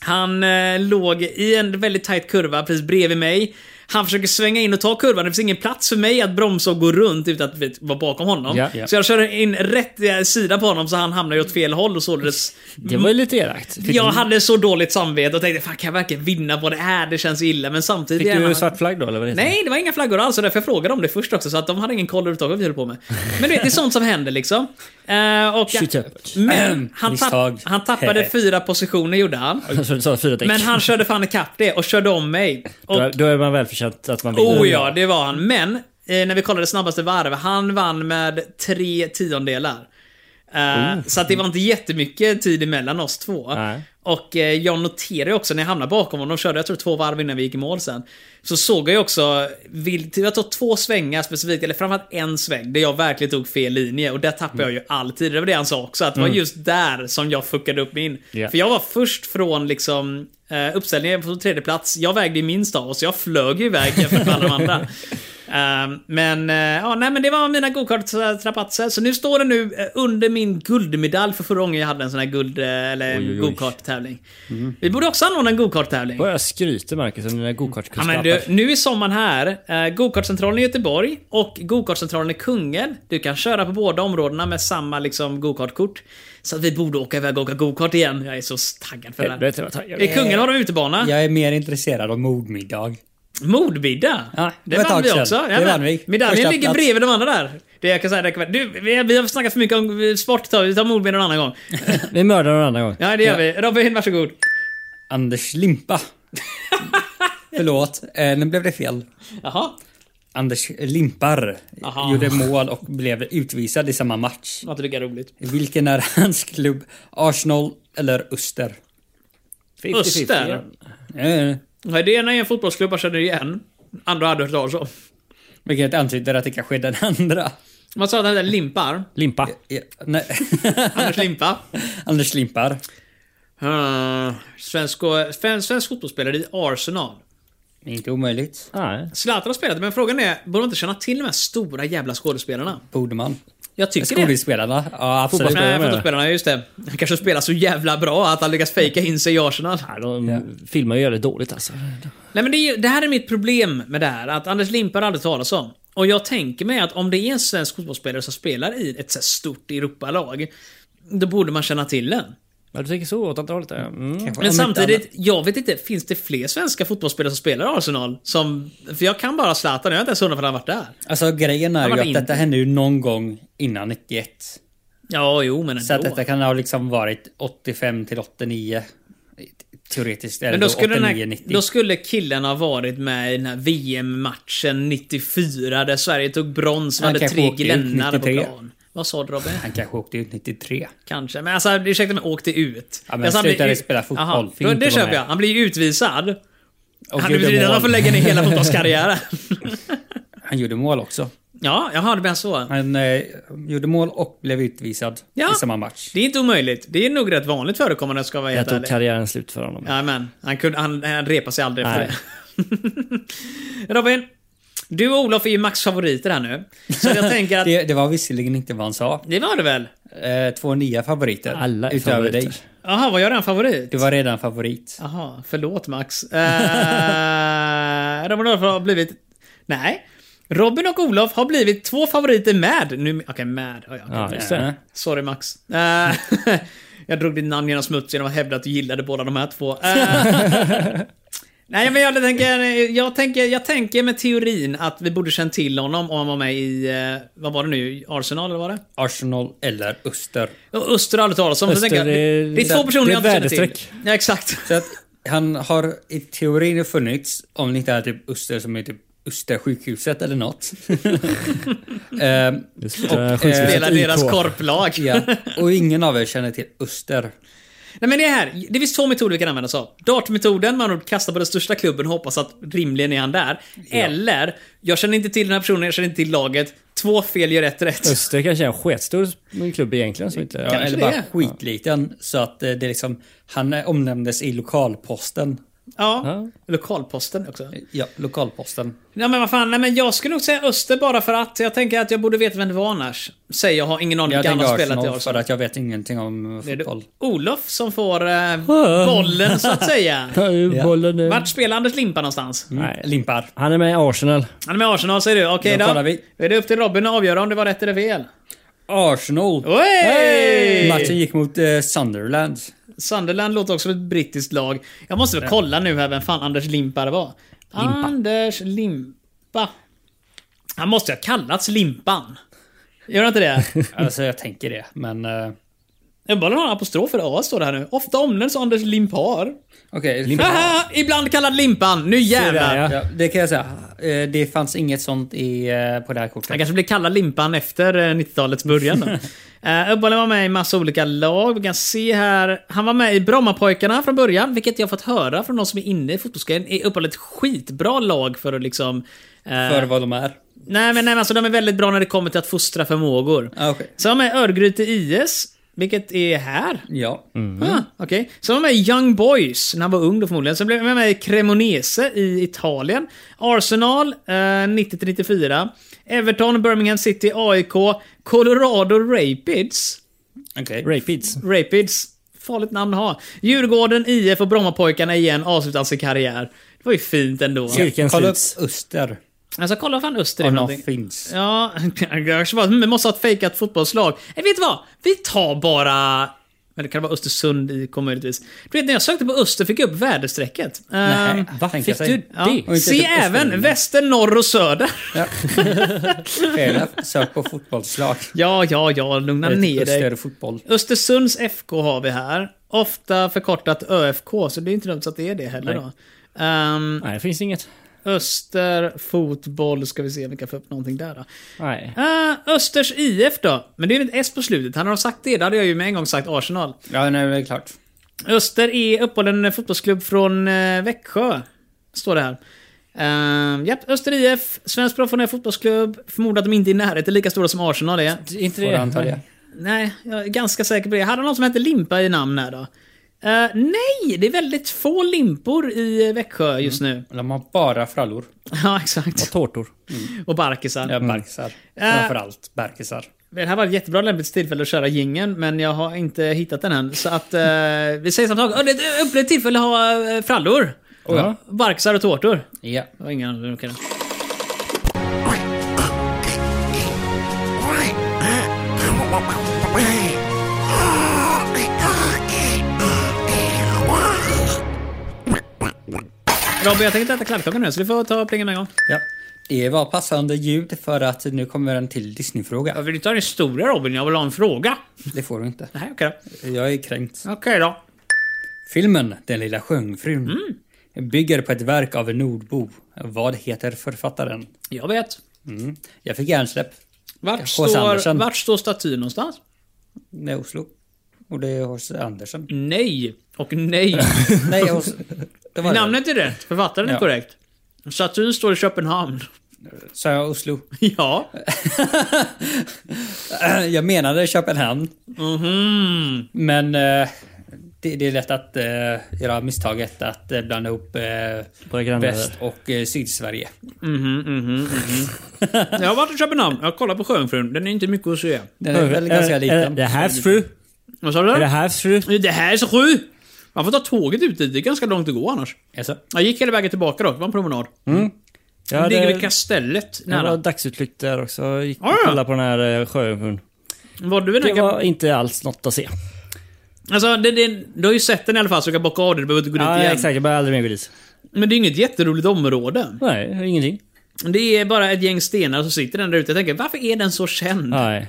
Han eh, låg i en väldigt tight kurva precis bredvid mig. Han försöker svänga in och ta kurvan. Det finns ingen plats för mig att bromsa och gå runt utan att vet, vara bakom honom.
Ja, ja.
Så jag kör in rätt eh, sida på honom så han hamnar ju åt fel håll och således...
Det var ju lite elakt. Fick,
Jag hade så dåligt samvete och tänkte fan kan jag verkligen vinna på det här? Det känns illa men samtidigt...
fick
är
du
man-
svart flagg då eller vad det heter?
Nej, det var inga flaggor alls. Och därför jag frågade om det först också. Så att de hade ingen koll överhuvudtaget vad vi höll på med. Men du vet, det är sånt som händer liksom. Eh, och,
Shit happens.
men han,
Misstag.
tapp, han tappade fyra positioner gjorde han.
Så du sa fyra däck.
Men han körde fan ikapp det och körde om mig. Och,
Då, då är man välförtjänt att man vinner.
oh ja, det var han. Men eh, när vi kollade snabbaste varv, han vann med tre tiondelar. Eh, Så att det var inte jättemycket tid emellan oss två.
Nej.
Och eh, jag noterade ju också när jag hamnade bakom honom, körde jag tror två varv innan vi gick i mål sen. Så såg jag ju också, vill- jag tog två svängar specifikt, eller framförallt en sväng, där jag verkligen tog fel linje. Och där tappade jag ju alltid. Det var det han sa också, att det var just där som jag fuckade upp min.
Ja.
För jag var först från liksom eh, uppställningen på tredje plats. Jag vägde ju minst av oss, så jag flög ju iväg jämfört med alla de andra. Ehm, men, eh, ja, nej, men det var mina gokart-trapatser. Så nu står det nu eh, under min guldmedalj för förra gången jag hade en sån här guld eh, eller
Oj, oj, oj.
gokart-tävling. Vi borde också anordna en gokart-tävling.
Börja skryta Marcus om dina
Ja, men
gokartkunskaper.
du, nu är sommaren här. Eh, Gokartcentralen i Göteborg och Gokartcentralen i Kungälv. Du kan köra på båda områdena med samma liksom, gokartkort. Så att vi borde åka iväg och åka gokart igen. Jag är så taggad för det här.
Helvete vad taggad jag
I
är.
Kungälv har de utebana.
Jag är mer intresserad av mordmiddag.
Mordbidda!
Ja,
det
det var ett
vann
tag
vi
sedan.
också.
Det
Jajamän.
vann vi.
Medaljen
Första
ligger
plats.
bredvid de andra där. Det jag kan säga, det kan, du, vi, vi har snackat för mycket om eh, sport, tar vi Vi tar mordben någon annan gång.
Vi mördar någon annan gång.
Ja, det gör vi. Robin, varsågod.
Anders Limpa. Förlåt, eh, nu blev det fel.
Jaha,
Anders Limpar
Aha.
gjorde mål och blev utvisad i samma match.
var inte lika roligt.
Vilken är hans klubb? Arsenal eller Öster?
50-50,
Öster.
ja.
Eh,
Nej, Det ena är en fotbollsklubb jag känner igen. Andra hade jag hört talas om.
vilket antyder att det kanske är den andra.
Man sa att han hette Limpar.
Limpa.
Ja, nej.
Anders Limpa.
Anders Limpar.
Uh, svensk, svensk, svensk fotbollsspelare i Arsenal.
Inte omöjligt.
Nej.
Zlatan har spelat, men frågan är, borde man inte känna till de här stora jävla skådespelarna?
Borde man.
Jag tycker det.
Skådespelarna? Ja, absolut.
Fotbollsspelare.
Nej,
menar du?
fotbollsspelarna, just det. Han kanske spelar så jävla bra att han lyckas fejka in sig i Arsenal.
Nej, de filmar ju jävligt dåligt alltså.
Nej, men det, är, ju- det här är mitt problem med det här, att Anders Limpar aldrig talas om. Och jag tänker mig att om det är en svensk fotbollsspelare som spelar i ett så här stort Europalag, då borde man känna till den.
Ja, du tänker så åt andra hållet ja. mm.
Kanske
Men
om
samtidigt,
inte
jag vet inte, finns det fler svenska fotbollsspelare som spelar i Arsenal? Som, för jag kan bara Zlatan, jag är inte ens hundra för han har varit där.
annat. Alltså grejen är
Han
ju
var
att
inte-
detta hände ju någon gång innan 91.
Ja, jo, men
Så att
ändå.
detta kan ha liksom varit 85 till 89. Teoretiskt. Eller
Men då skulle, den
89,
här,
90.
då skulle killen ha varit med i den här VM-matchen 94 där Sverige tog brons och
Han
hade
kanske
tre
åkte ut
glännar på
93.
plan. Vad sa du Robin?
Han kanske åkte ut 93.
Kanske. Men alltså, ursäkta mig, åkte ut.
Ja, men
alltså, han blir
slutade
ut-
spela fotboll.
Jaha,
Fick
då,
inte
det
vara
köper
med.
jag. Han blir ju utvisad.
Och
han,
gjorde
blir, han
mål.
får lägga ner hela fotbollskarriären.
Han gjorde mål också.
ja, jaha, det blir så.
Han eh, gjorde mål och blev utvisad
Ja.
i samma match.
Det är inte omöjligt. Det är nog rätt vanligt förekommande ska jag vara
Jag
helt
tog
ärlig.
karriären slut för honom.
Ja, men han, kunde, han, han repade sig aldrig efter
Nej.
det. Robin, du och Olof är ju Max favoriter här nu. Så jag tänker att...
Det, det var visserligen inte vad han sa.
Det var det väl?
Eh, två nya favoriter.
Alla är
utöver
favoriter.
dig.
Jaha, var jag redan favorit?
Du var redan favorit.
Jaha, förlåt Max. Eh, Robin och Olof har blivit... Nej. Robin och Olof har blivit två favoriter med. Nu... Okej, med. Oh, ja, okej.
Ja, just det.
Sorry Max. Eh, jag drog ditt namn genom smuts genom att hävda att du gillade båda de här två. Eh, Nej men jag tänker, jag tänker, jag tänker med teorin att vi borde känt till honom om han var med i, eh, vad var det nu, Arsenal eller vad var det?
Arsenal eller Öster.
Och Öster har aldrig talat om. så
Öster
tänker jag,
är-
Det är två personer
det är
jag inte känner till.
väderstreck.
Ja, exakt.
Så att han har i teorin funnits, om det inte är typ Öster som är typ Öster sjukhuset eller något. Ehm,
Just,
Och,
eh,
eh,
skyddsmässigt
Spelar
IK.
deras korplag.
ja. Och ingen av er känner till Öster.
Nej men det här, det finns två metoder vi kan använda oss av. Dartmetoden, man kasta på den största klubben och hoppas att rimligen är han där. Eller, jag känner inte till den här personen, jag känner inte till laget. Två fel gör ett rätt.
Öster kanske är en sketstor klubb egentligen som inte...
Ja, eller bara
det.
skitliten. Så att eh, det är liksom, han eh, omnämndes i lokalposten.
Ja.
Ja.
Lokalposten också.
Ja, lokalposten.
Ja men vad fan, nej men jag skulle nog säga Öster bara för att. Jag tänker att jag borde veta vem det var annars. Säger jag, har ingen aning
Jag
vilka han
tänker
har spelat i
Arsenal för
Arsenal.
att jag vet ingenting om
Det är det
fotboll.
Olof som får eh, bollen så att säga.
Ta ur bollen
Eh.
nu.
Vart spelar Anders Limpa någonstans?
Nej.
Mm, Limpar.
Han är med i Arsenal.
Han är med Arsenal säger du. Okej
Då
då.
kollar vi.
Är det upp till Robin att avgöra om det var rätt eller fel?
Arsenal.
Oj!
Matchen gick mot eh, Sunderland.
Sunderland låter också som ett brittiskt lag. Jag måste väl kolla nu här vem fan Anders Limpa det var. Anders Limpa. Han måste ju ha kallats Limpan. Gör han inte det?
Alltså jag tänker det, men... eh,
Ölbollen har en apostrof för A står det här nu. Ofta omnämns som Anders Limpar.
Okej.
Haha, ibland kallad Limpan. Nu jävlar.
Ja, det kan jag säga. Eh, Det fanns inget sånt i, eh, på det här kortet.
Han kanske blev kallad Limpan efter eh, 90-talets början. då. Eh, Uppehållen var med i massa olika lag. Vi kan se här. Han var med i Brommapojkarna från början, vilket jag fått höra från de som är inne i fotbollsgrejen. Är Uppehållen ett skitbra lag för att liksom... eh,
För vad de är.
Nej, men, nej, men alltså, de är väldigt bra när det kommer till att fostra förmågor.
Ah, Okej.
Så var han med i Örgryte IS, vilket är här.
Ja.
Ah, Okej. Så var han med i Young Boys när han var ung då förmodligen. Sen blev han med i Cremonese i Italien. Arsenal eh, 90-94. Everton, Birmingham City, AIK, Colorado Rapids.
Okej.
Rapids.
Rapids. Farligt namn att ha. Djurgården, IF och Brommapojkarna igen avslutar sin karriär. Det var ju fint ändå.
Cirkeln
Kolla upp
sluts.
Öster.
Alltså kolla vad fan Öster är
Om
för
de
någonting.
finns.
Ja, kanske bara, vi måste ha ett fejkat fotbollslag. Nej, vet du vad? Vi tar bara... Men det kan vara Östersund IK möjligtvis. Du vet, när jag sökte på Öster fick jag upp väderstrecket.
Nej,
Ehm,
vad
Fick du
ja.
det?
inte
Se
typ
även
Östermalm.
väster, norr och söder.
Fel. Sök på fotbollslag.
Ja, ja, ja, lugna
Eller typ
ner dig.
Öster fotboll.
Östersunds FK har vi här. Ofta förkortat ÖFK, så det är inte dumt att det är det heller då. Ehm,
Nej, det finns inget.
Öster, fotboll, ska vi se om vi kan få upp någonting där då.
Nej.
Ah, Östers IF då. Men det är ju ett S på slutet. Han har sagt det. Då hade jag ju med en gång sagt Arsenal.
Ja, nej, det är klart.
Öster är uppehållen fotbollsklubb från eh, Växjö. Står det här. Ehm, japp, Öster IF. Svensk professionell fotbollsklubb. Förmodar att de inte är i närheten lika stora som Arsenal är.
Det är Inte
Får
det.
jag anta det.
Nej, jag är ganska säker på det. Hade någon som hette Limpa i namn här då? Eh, nej, det är väldigt få limpor i eh, Växjö just nu.
De har bara frallor.
Ja, exakt.
Tårtor.
Och barkisar.
Ja, barkisar. Framförallt barkisar.
Det här var ett jättebra lämpligt tillfälle att köra gingen men jag har inte hittat den än. Så att eh, vi säger samma sak. Ö, Det är ett ypperligt tillfälle att ha eh, frallor.
ja.
Barksar och tårtor.
Ja.
Det var ingen annan som kunde. Robin, jag tänkte äta kladdkakan nu så du får ta plingan med en gång.
ja. Det var passande ljud för att nu kommer en till
Jag
Disney-fråga.
vill inte ha den stora Robin, jag vill ha en fråga.
Det får du inte.
Nej, okej då.
Jag är kränkt.
Okej då.
Filmen Den lilla sjöngfrun
Mm.
bygger på ett verk av en nordbo. Vad heter författaren?
Jag vet.
Mm. Jag fick hjärnsläpp.
Vart
H.C.
står,
Andersen.
vart står statyn någonstans?
Det är Oslo. Och det är H.C. Andersen.
Nej och nej.
Nej, hos... det var det.
Namnet är rätt, författaren är
Ja.
korrekt. Statyn står i Köpenhamn.
Sa jag Oslo?
ja.
Jag menade Köpenhamn.
Mhm.
Men eh, det, det är lätt att eh, göra misstaget att eh, blanda ihop eh,
Våra grannar.
Väst och eh, Sydsverige.
Mhm, mhm, mhm. Jag har varit i Köpenhamn. Jag kollar på Sjöjungfrun. Den är inte mycket att se.
Den är väl ganska liten.
Det här fru.
Vad sa
Är det
du?
här fru?
Det här är så sju! Man får ta tåget ut dit. Det är ganska långt att gå annars.
Alltså,
Jag gick hela vägen tillbaka dock. Det var en promenad.
Ja,
det ligger
det-
vid kastellet
Det var
nära.
dagsutflykt där också. Jag gick och
Ah, ja.
kollade på den här eh, sjöjungfrun.
Var du vid
Det
den här
var inte alls något att se.
Alltså, det, det, du har ju sett den i alla fall så du kan bocka av det. Du behöver inte gå
Ja,
dit igen.
exakt. Jag började aldrig mer gå dit.
Men det är inget jätteroligt område.
Nej, ingenting.
Det är bara ett gäng stenar som sitter den där ute. Jag tänker, varför är den så känd?
Nej.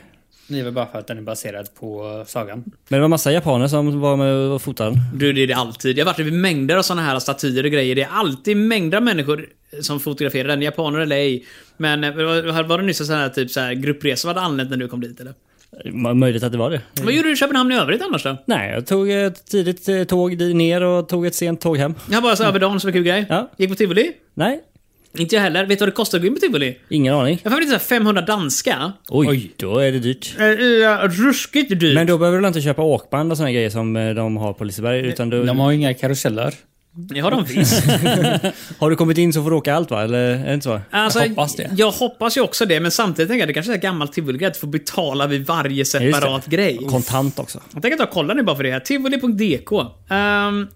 det är väl bara för att den är baserad på sagan.
Men det var massa japaner som var med och fotade den.
Du, det är det alltid. Jag har varit vid mängder av såna här statyer och grejer. Det är alltid mängder av människor som fotograferar den. Japaner eller ej. Men eh, var var det nyss en sån här, typ, så här gruppresa som hade anlänt när du kom dit eller?
M- Möjligt att det var det.
Vad gjorde du i Köpenhamn i övrigt annars då?
Nej, jag tog ett tidigt eh, tåg di- ner och tog ett sent tåg hem.
Jag bara så över dagen som en kul grej.
Ja.
Gick på tivoli?
Nej,
Inte jag heller. Vet du vad det kostar att gå in på tivoli?
ingen aning.
Jag får väl inte så här 500 danska.
Oj, då är det dyrt.
Eh, eh, Ruskigt dyrt.
Men då behöver du inte köpa åkband och såna grejer som eh, de har på Liseberg. Utan du,
De har ju inga karuseller.
Det har de visst.
Har du kommit in så får du åka allt va? Eller är det inte så?
Alltså,
Jag hoppas det.
Jag hoppas ju också det, men samtidigt tänker jag det kanske är ett gammalt tivoligrej att få betala vid varje
Just det.
separat grej.
Kontant också.
Jag tänker att jag kollar nu bara för det här. Tivoli.dk. Um,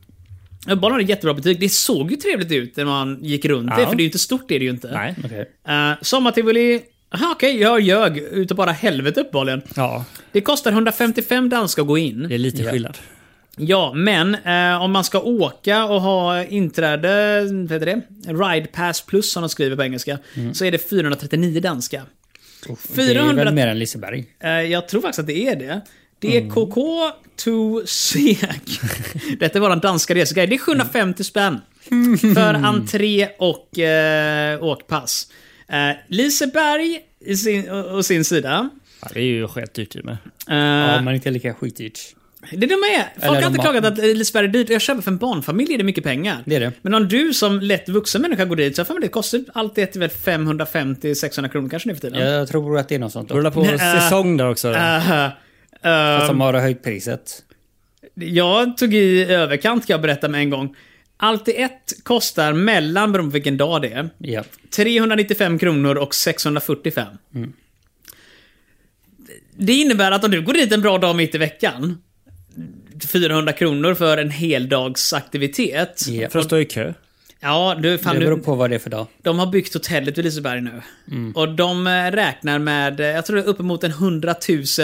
Ölbanan har ett jättebra butik. Det såg ju trevligt ut när man gick runt det,
Ja.
för det är ju inte stort. Det är det ju inte.
Nej.
Okej.
Eh, sommartivoli. Aha, Okej, jag ljög. Utav bara helvete uppenbarligen.
Ja,
Det kostar 155 danska att gå
det
in.
är lite skillnad.
Ja, men eh, om man ska åka och ha inträde, vad heter det? Ride Pass Plus som de skriver på engelska.
Mm.
Så är det 439 danska.
Det är
400
väl mer än Liseberg.
Eh, Jag tror faktiskt att det är det.
Mm.
DKK to SEK. Detta är våran danska reseguide. Det är 750 spänn
Mm.
för entré och eh, åkpass. Eh, Liseberg i sin, å, å sin sida.
Ja, det är ju skitdyrt i med.
Eh,
Ja, men inte lika skitdyrt.
Det är de är. Folk
Eller
har inte
de
klagat att Liseberg är dyrt. Jag köper för en barnfamilj är det mycket pengar.
Det är det.
Men om du som lätt vuxen människa går dit så har jag för mig det kostar allt det till väl 550-600 kronor kanske nu för tiden.
Jag tror att det är något sånt. äh,
Det rullar
Då.
på säsong där också.
Eh, eh,
Fast de har höjt priset.
Jag tog i överkant kan jag berätta med en gång. Allt i ett kostar mellan, beroende på vilken dag det är,
Ja.
395 kronor och 645.
Mm.
Det innebär att om du går dit en bra dag mitt i veckan, 400 kronor för en heldagsaktivitet.
Ja.
För att stå i kö.
Ja, du, fan,
Det
du,
beror på vad det är för dag.
de har byggt hotellet vid Liseberg nu.
Mm.
Och de eh, räknar med, eh, jag tror det är uppemot en 100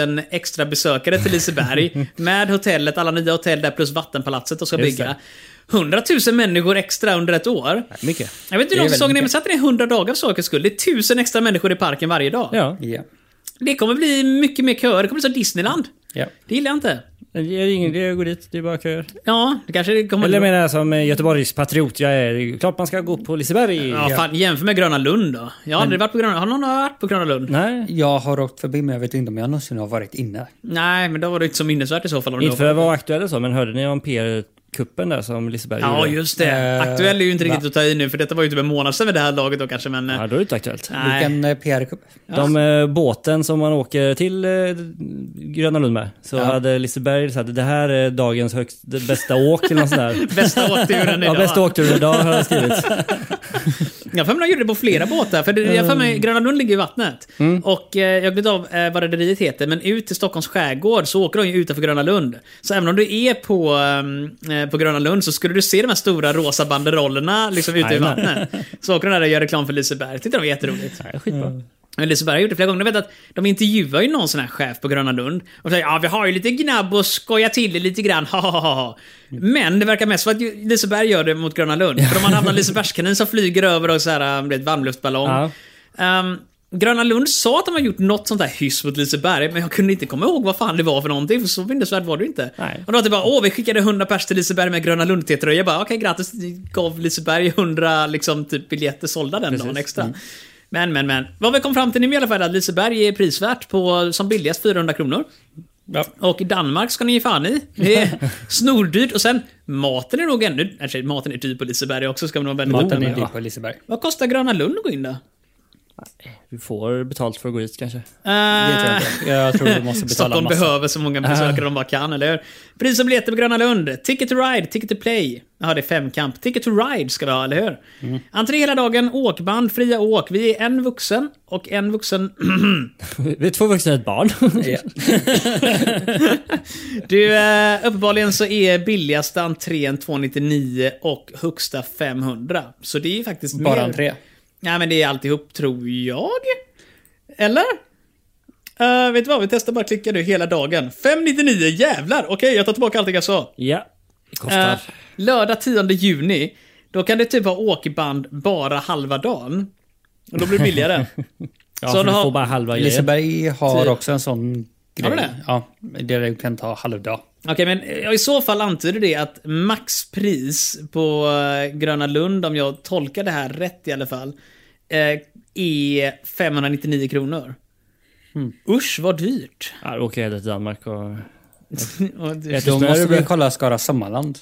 000 extra besökare till Liseberg. med hotellet, alla nya hotell där plus vattenpalatset de ska
Just
bygga. 100 000 människor extra under ett år.
Mycket.
Jag vet inte hur
Det är
lång säsongen är,
väldigt
men sätt den i 100 dagar för sakens skull. Det är 1000 extra människor i parken varje dag.
Ja.
Ja.
Det kommer bli mycket mer köer. Det kommer bli som Disneyland.
ja.
Det gillar jag inte.
Det är ingen idé att gå dit, det är bara köer.
Ja, det kanske det kommer...
Eller jag menar som eh, Göteborgs patriot jag är, det är klart man ska gå på Liseberg.
Ja, fan, jämför med Gröna Lund då. Jag har aldrig varit på Gröna Har någon varit på Gröna Lund?
Nej.
Jag har åkt förbi men jag vet inte om jag någonsin har varit inne.
Nej, men då var det inte så minnesvärt i så fall. Om det
Inte
var-
för att vara aktuell och så, men hörde ni om PR-kuppen där som Liseberg
Ja,
gjorde?
just det.
Eh,
Aktuell är ju inte riktigt att ta i nu, för detta var ju typ en månad sedan vid det här laget då kanske, men... eh,
Ja, då är det inte aktuellt.
nej.
Vilken eh, PR-kupp?
De eh, båten som man åker till eh, Gröna Lund med, så hade Liseberg sagt det här är dagens högst, det bästa åk eller något sånt där.
Bästa åkturen
Ja,
idag.
bästa åkturen idag har jag skrivit.
Jag har för mig de gjorde det på flera båtar, för det, jag har för
Eh.
mig Gröna Lund ligger i vattnet.
Mm.
Och eh, jag har glömt av eh, vad rederiet heter, men ut till Stockholms skärgård så åker de ju utanför Gröna Lund. Så även om du är på, ehm, eh, på Gröna Lund så skulle du se de här stora rosa banderollerna liksom ute i
Jajamän.
vattnet. Så åker de där och gör reklam för Liseberg. Tyckte det var jätteroligt.
Nej, skitbra.
Men Liseberg har gjort det flera gånger. Jag vet att de intervjuar ju någon sån här chef på Gröna Lund. Och säger ja, vi har ju lite gnabb och skoja till det lite grann. Ha, ha, ha, ha. Men det verkar mest vara att ju- Liseberg gör det mot Gröna Lund. För de har hamnat Lisebergskanin som flyger över och så här, um, det är ett varmluftballong.
Ja.
Ehm, Gröna Lund sa att de har gjort något sånt här hyss mot Liseberg, men jag kunde inte komma ihåg vad fan det var för någonting, för så minnesvärd var det ju inte.
Nej.
Och då var det bara, åh, vi skickade 100 pers till Liseberg med Gröna Lund-tröja. Jag bara, okej, grattis, ni gav Liseberg 100 liksom, typ, biljetter sålda den dagen extra.
Mm.
Men, men, men. Vad vi kom fram till nu i alla fall är att Liseberg är prisvärt på som billigast 400 kronor.
Ja.
Och i Danmark ska ni ge fan i. Det är snordyrt. Och sen, maten är nog ännu... Nej, maten är dyr på Liseberg också, ska man vara väldigt noga
Maten är
med.
dyr på Liseberg.
Vad kostar Gröna Lund att gå in då?
Du får betalt för att gå dit kanske.
Eh,
Det tror jag inte. Jag tror du måste betala
Stockholm
massa.
behöver så många besökare de bara kan, eller hur? Pris och biljetter på Gröna Lund. Ticket to ride, ticket to play. Ja, det är femkamp. Ticket to ride ska vi ha, eller hur?
Mm.
Entré hela dagen, åkband, fria åk. Vi är en vuxen och en vuxen...
Vi är två vuxna och ett barn.
Ja.
Du, eh, uppenbarligen så är billigaste entrén 299 och högsta 500. Så det är ju faktiskt mer.
Bara entré.
Nej, men det är alltihop, tror jag. Eller? Eh, vet du vad? Vi testar bara klicka nu hela dagen. 599, jävlar! Okej, jag tar tillbaka allt jag sa.
ja, det kostar.
Eh, lördag 10 juni, då kan du typ ha åkband bara halva dagen. Och då blir det billigare.
ja,
så
så
du
du
har-
får bara halva grejen.
Liseberg har också en sån grej.
Har du det?
Ja, där du kan ta halvdag.
Okej, men eh, i så fall antyder det att maxpris på eh, Gröna Lund, om jag tolkar det här rätt i alla fall, eh, är 599 kronor.
Hmm.
Usch, vad dyrt.
Ja, då åker jag till Danmark och...
Och du-
Ett-
Då
Snö
måste
blir-
vi kolla Skara Sommarland.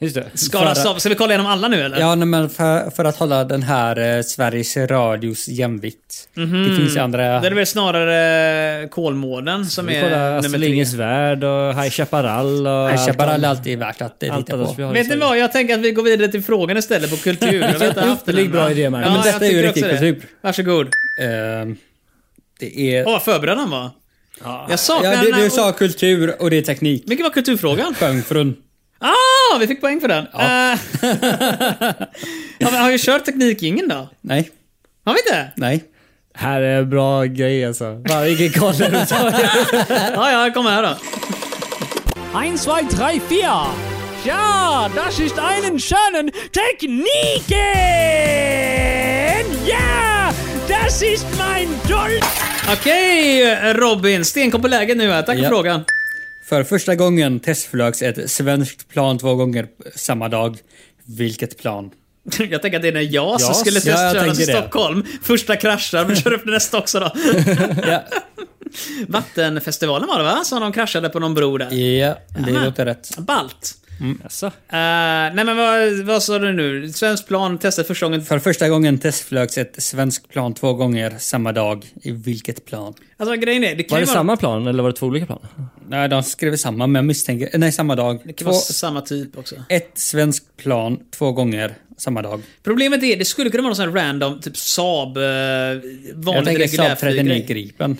Just det.
Skara,
För-
Som- ska vi kolla igenom alla nu eller?
Ja, nej, men för, för att hålla den här eh, Sveriges Radios jämvikt. Det finns ju andra...
Mhm. Det är väl snarare eh, Kolmården som
Vi
är
kollar
nummer
Astrid
tre.
Lindgrens Värld och High Chaparral och...
High Chaparral är
allt-
alltid värt att eh,
allt
titta
annat vi
på.
har i
Vet ni
Sverige.
vad, jag tänker att vi går vidare till frågan istället på kultur. Jag vet inte haft den
Jättelig
än,
bra
va?
idé, Marcus.
Ja,
Men detta
jag
är ju
tycker
riktig
också det.
kultur.
Varsågod.
Ehm, Det är...
Åh, vad förberedd han var. Jag saknar
Ja,
den
du,
här-
du sa kultur och det är teknik.
Vilken var kulturfrågan?
Sjöngfrun.
Ah, vi fick poäng för den. Ja. ja, men har vi kört teknikingen då?
Nej,
Har vi inte?
nej.
Här är bra grejer alltså. Varje koll är det så.
Ja, ja, kom här då.
Eins, zwei, drei, vier.
Ah,
Ja, das ist einen schönen Techniken. Ja, das ist mein Dolch.
Okej Robin, stenkoll på läget nu här. Tack
Ja.
för frågan.
För första gången testflögs ett svenskt plan två gånger samma dag. Vilket plan?
Jag tänker att det är när jag som
Ja,
skulle
ja, jag
testköra till
tänker det.
Stockholm. Första kraschar, men kör upp det nästa också då.
Ja,
Vattenfestivalen var det va? Som de kraschade på någon bro där.
ja det
Aha.
låter rätt.
Ballt.
Jaså?
Eh, nej men vad, vad sa du nu? Svenskt plan testade första gången.
För första gången testflögs ett svenskt plan två gånger samma dag. I vilket plan?
Alltså grejen är, det kan
Var
ju
det
vara,
samma plan eller var det två olika plan?
Nej, de skrev samma, men jag misstänker... Nej, samma dag.
det kan
Två,
vara samma typ också.
ett svenskt plan två gånger samma dag.
Problemet är, det skulle kunna vara någon sån här random, typ Saab, eh,
Jag
vanlig
tänker
reguljär
Saab 39
flyggrej.
Gripen.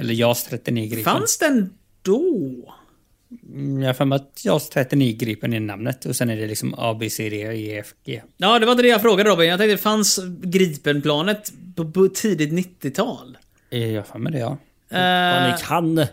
Eller JAS 39 Gripen.
Fanns den då?
Mm, Jag har för mig att JAS 39 Gripen är namnet och sen är det liksom A, B, C, D, E, F, G.
Ja, det var inte det jag frågade Robin. Jag tänkte, fanns Gripenplanet på, på tidigt 90-tal?
Eh, Jag har för mig det, ja.
Fan,
Eh,
ni kan!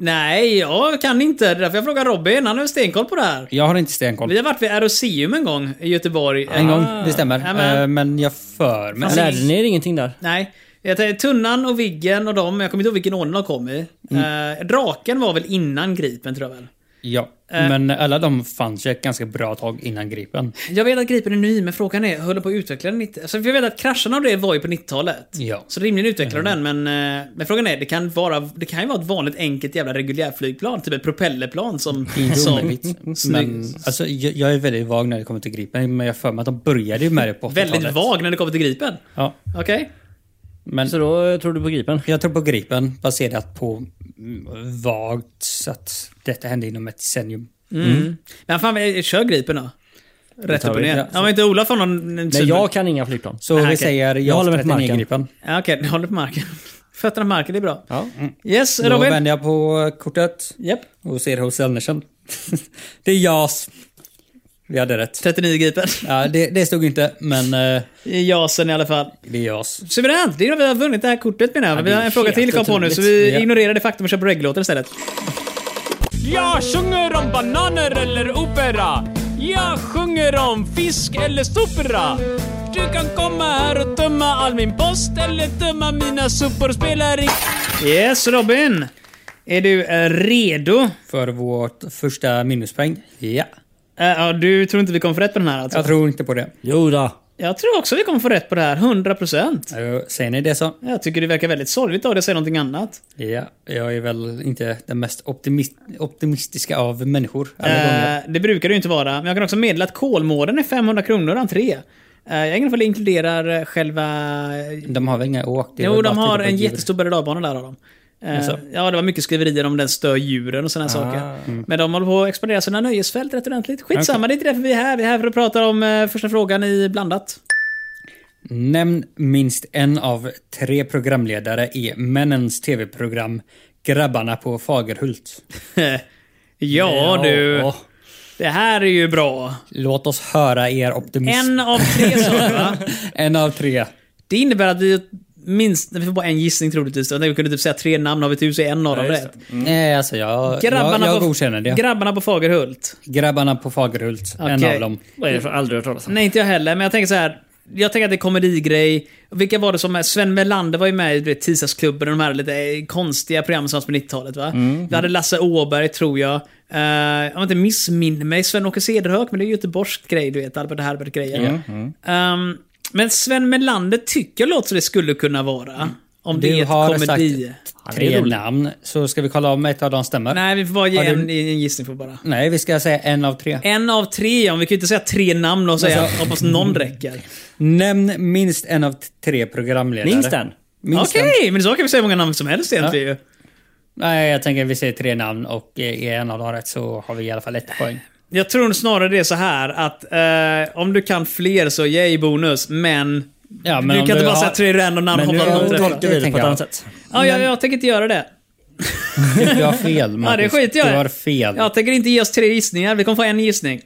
nej, jag kan inte. Det är därför jag frågar Robin. Han har ju stenkoll på det här.
Jag har inte stenkoll.
Vi har varit vid Aeroseum en gång i Göteborg.
En
Eh,
gång, det stämmer.
Ja, men-
Eh, Men jag för mig...
Men lärde ni er ingenting där?
Nej. Jag tänkte, Tunnan och Viggen och dem, jag kommer inte ihåg vilken ordning de kom i.
Mm.
Eh, draken var väl innan Gripen tror jag väl?
Ja,
Eh.
men alla de fanns ju ett ganska bra tag innan Gripen.
Jag vet att Gripen är ny, men frågan är, höll de på att utveckla den 90 alltså, för Jag vet att kraschen av det var ju på 90-talet.
Ja. Mm.
Så rimligen utvecklade de den, men, eh, men frågan är, det kan, vara, det kan ju vara ett vanligt enkelt jävla reguljärflygplan, typ ett propellerplan som...
Inte
som
omöjligt.
snygg-
Men alltså, jag, jag är väldigt vag när det kommer till Gripen, men jag har för mig att de började ju med det på 80-talet.
väldigt vag när det kommer till Gripen.
Ja,
Okej?
men
Så då eh, tror du på Gripen?
jag tror på Gripen baserat på mm, vagt så att detta hände inom ett decennium.
Mm. Men fan, vi- kör Gripen då. Rätt
tar
upp och
vi.
ner.
Ja,
Ja, men inte Olof har någon... en
Nej,
super-
jag kan inga flygplan.
Så
Nej,
vi
okej.
säger
Ah, Jag håller
JAS
med på
39
marken.
Gripen.
Ja, Okej, du håller på marken. Fötterna på marken, det är bra.
Ja.
Yes,
Då
Robin?
vänder jag på kortet
Japp.
och ser hos Andersen. det är JAS. Vi hade rätt.
39 Gripen.
Ja, det, det stod inte, men eh,
I Jasen i alla fall.
det är JAS.
Suveränt! Det är att vi har vunnit det här kortet menar jag. Men
det
vi har
är
en fråga
helt
till kom på nu,
otroligt.
så vi
Ja.
ignorerar det faktum och kör på regglåten istället.
Jag sjunger om bananer eller opera. Jag sjunger om fisk eller sopra. Du kan komma här och tömma all min post eller tömma mina sopor. Spelar ingen
Yes, Robin! Är du eh, redo?
För vårt första minuspoäng. Ja.
Eh, ja, du tror inte vi kommer få rätt på den här alltså?
Jag tror inte på det.
Jo då.
Jag tror också vi kommer få rätt på det här, 100%.
Eh, Säger ni det så?
Jag tycker det verkar väldigt sorgligt av dig att säga någonting annat.
Ja, jag är väl inte den mest optimi- optimistiska av människor. Alla gånger.
Eh, det brukar det ju inte vara, men jag kan också meddela att Kolmården är 500 kronor entré. Eh, jag vet inte om det inkluderar eh, själva
De har väl inga åk? Det är
Jo,
väl
de
bara att
har
titta på
en
djur.
jättestor berg och dalbana där har de. Eh,
Jaså? Ah,
Ja, det var mycket skriverier om den stör djuren och sådana saker.
mm.
Men de håller på att expandera sina nöjesfält rätt ordentligt. Skitsamma, det är inte därför vi är här. Vi är här för att prata om eh, första frågan i blandat.
Nämn minst en av tre programledare i männens tv-program Grabbarna på Fagerhult.
ja, du.
Ja,
Det här är ju bra.
Låt oss höra er optimism.
En av tre saker, va?
en av tre.
Det innebär att vi minst... Vi får bara en gissning troligtvis. Jag tänkte vi kunde typ säga tre namn. Har vi tur så är en av dem rätt.
Mm.
Nej, alltså jag,
Grabbarna,
jag, jag
på,
godkänner det.
grabbarna på Fagerhult.
Grabbarna på Fagerhult. En
Okej.
av dem.
Vad är det för aldrig hört talas om?
Nej, inte jag heller. Men jag tänker så här. Jag tänker att det är komedigrej. Vilka var det som... Sven Melander var ju med i du vet, Tisdagsklubben och de här lite konstiga programmen som fanns på 90-talet. Va?
Mm.
Vi hade Lasse Åberg, tror jag. Uh, om jag inte missminner mig, Sven-Åke Cederhök, men det är ju göteborgsk grej, du vet. Albert Herbert-grejer.
mm.
Ehm, men Sven Melander tycker jag låter som det skulle kunna vara. Om det
Du
är ett
har
komedi.
sagt tre namn, så ska vi kolla om ett av dem stämmer.
Nej, vi får bara ge
Har du-
en, en gissning för bara.
Nej, vi ska säga en av tre.
En av tre, om vi kan ju inte säga tre namn och säga
Alltså-
hoppas någon räcker.
Nämn minst en av t- tre programledare.
Minst en?
Minst
Okej,
en.
men så kan vi säga hur många namn som helst egentligen ju.
Nej, jag tänker vi säger tre namn och eh, är en av dem rätt så har vi i alla fall ett poäng.
Jag tror snarare det är så här att eh, om du kan fler så yay bonus, men...
Ja, men
du
om
kan inte
du
bara
har-
säga tre random namn och
Men nu
hoppas att någon träffar.
tolkar vi det på
tänker
ett
jag.
annat sätt.
Ja, jag, jag tänker inte göra det.
Du har fel, Marcus.
Ja, det skiter jag i.
Du har fel. Ja.
Jag tänker inte ge oss tre gissningar, vi kommer få en gissning.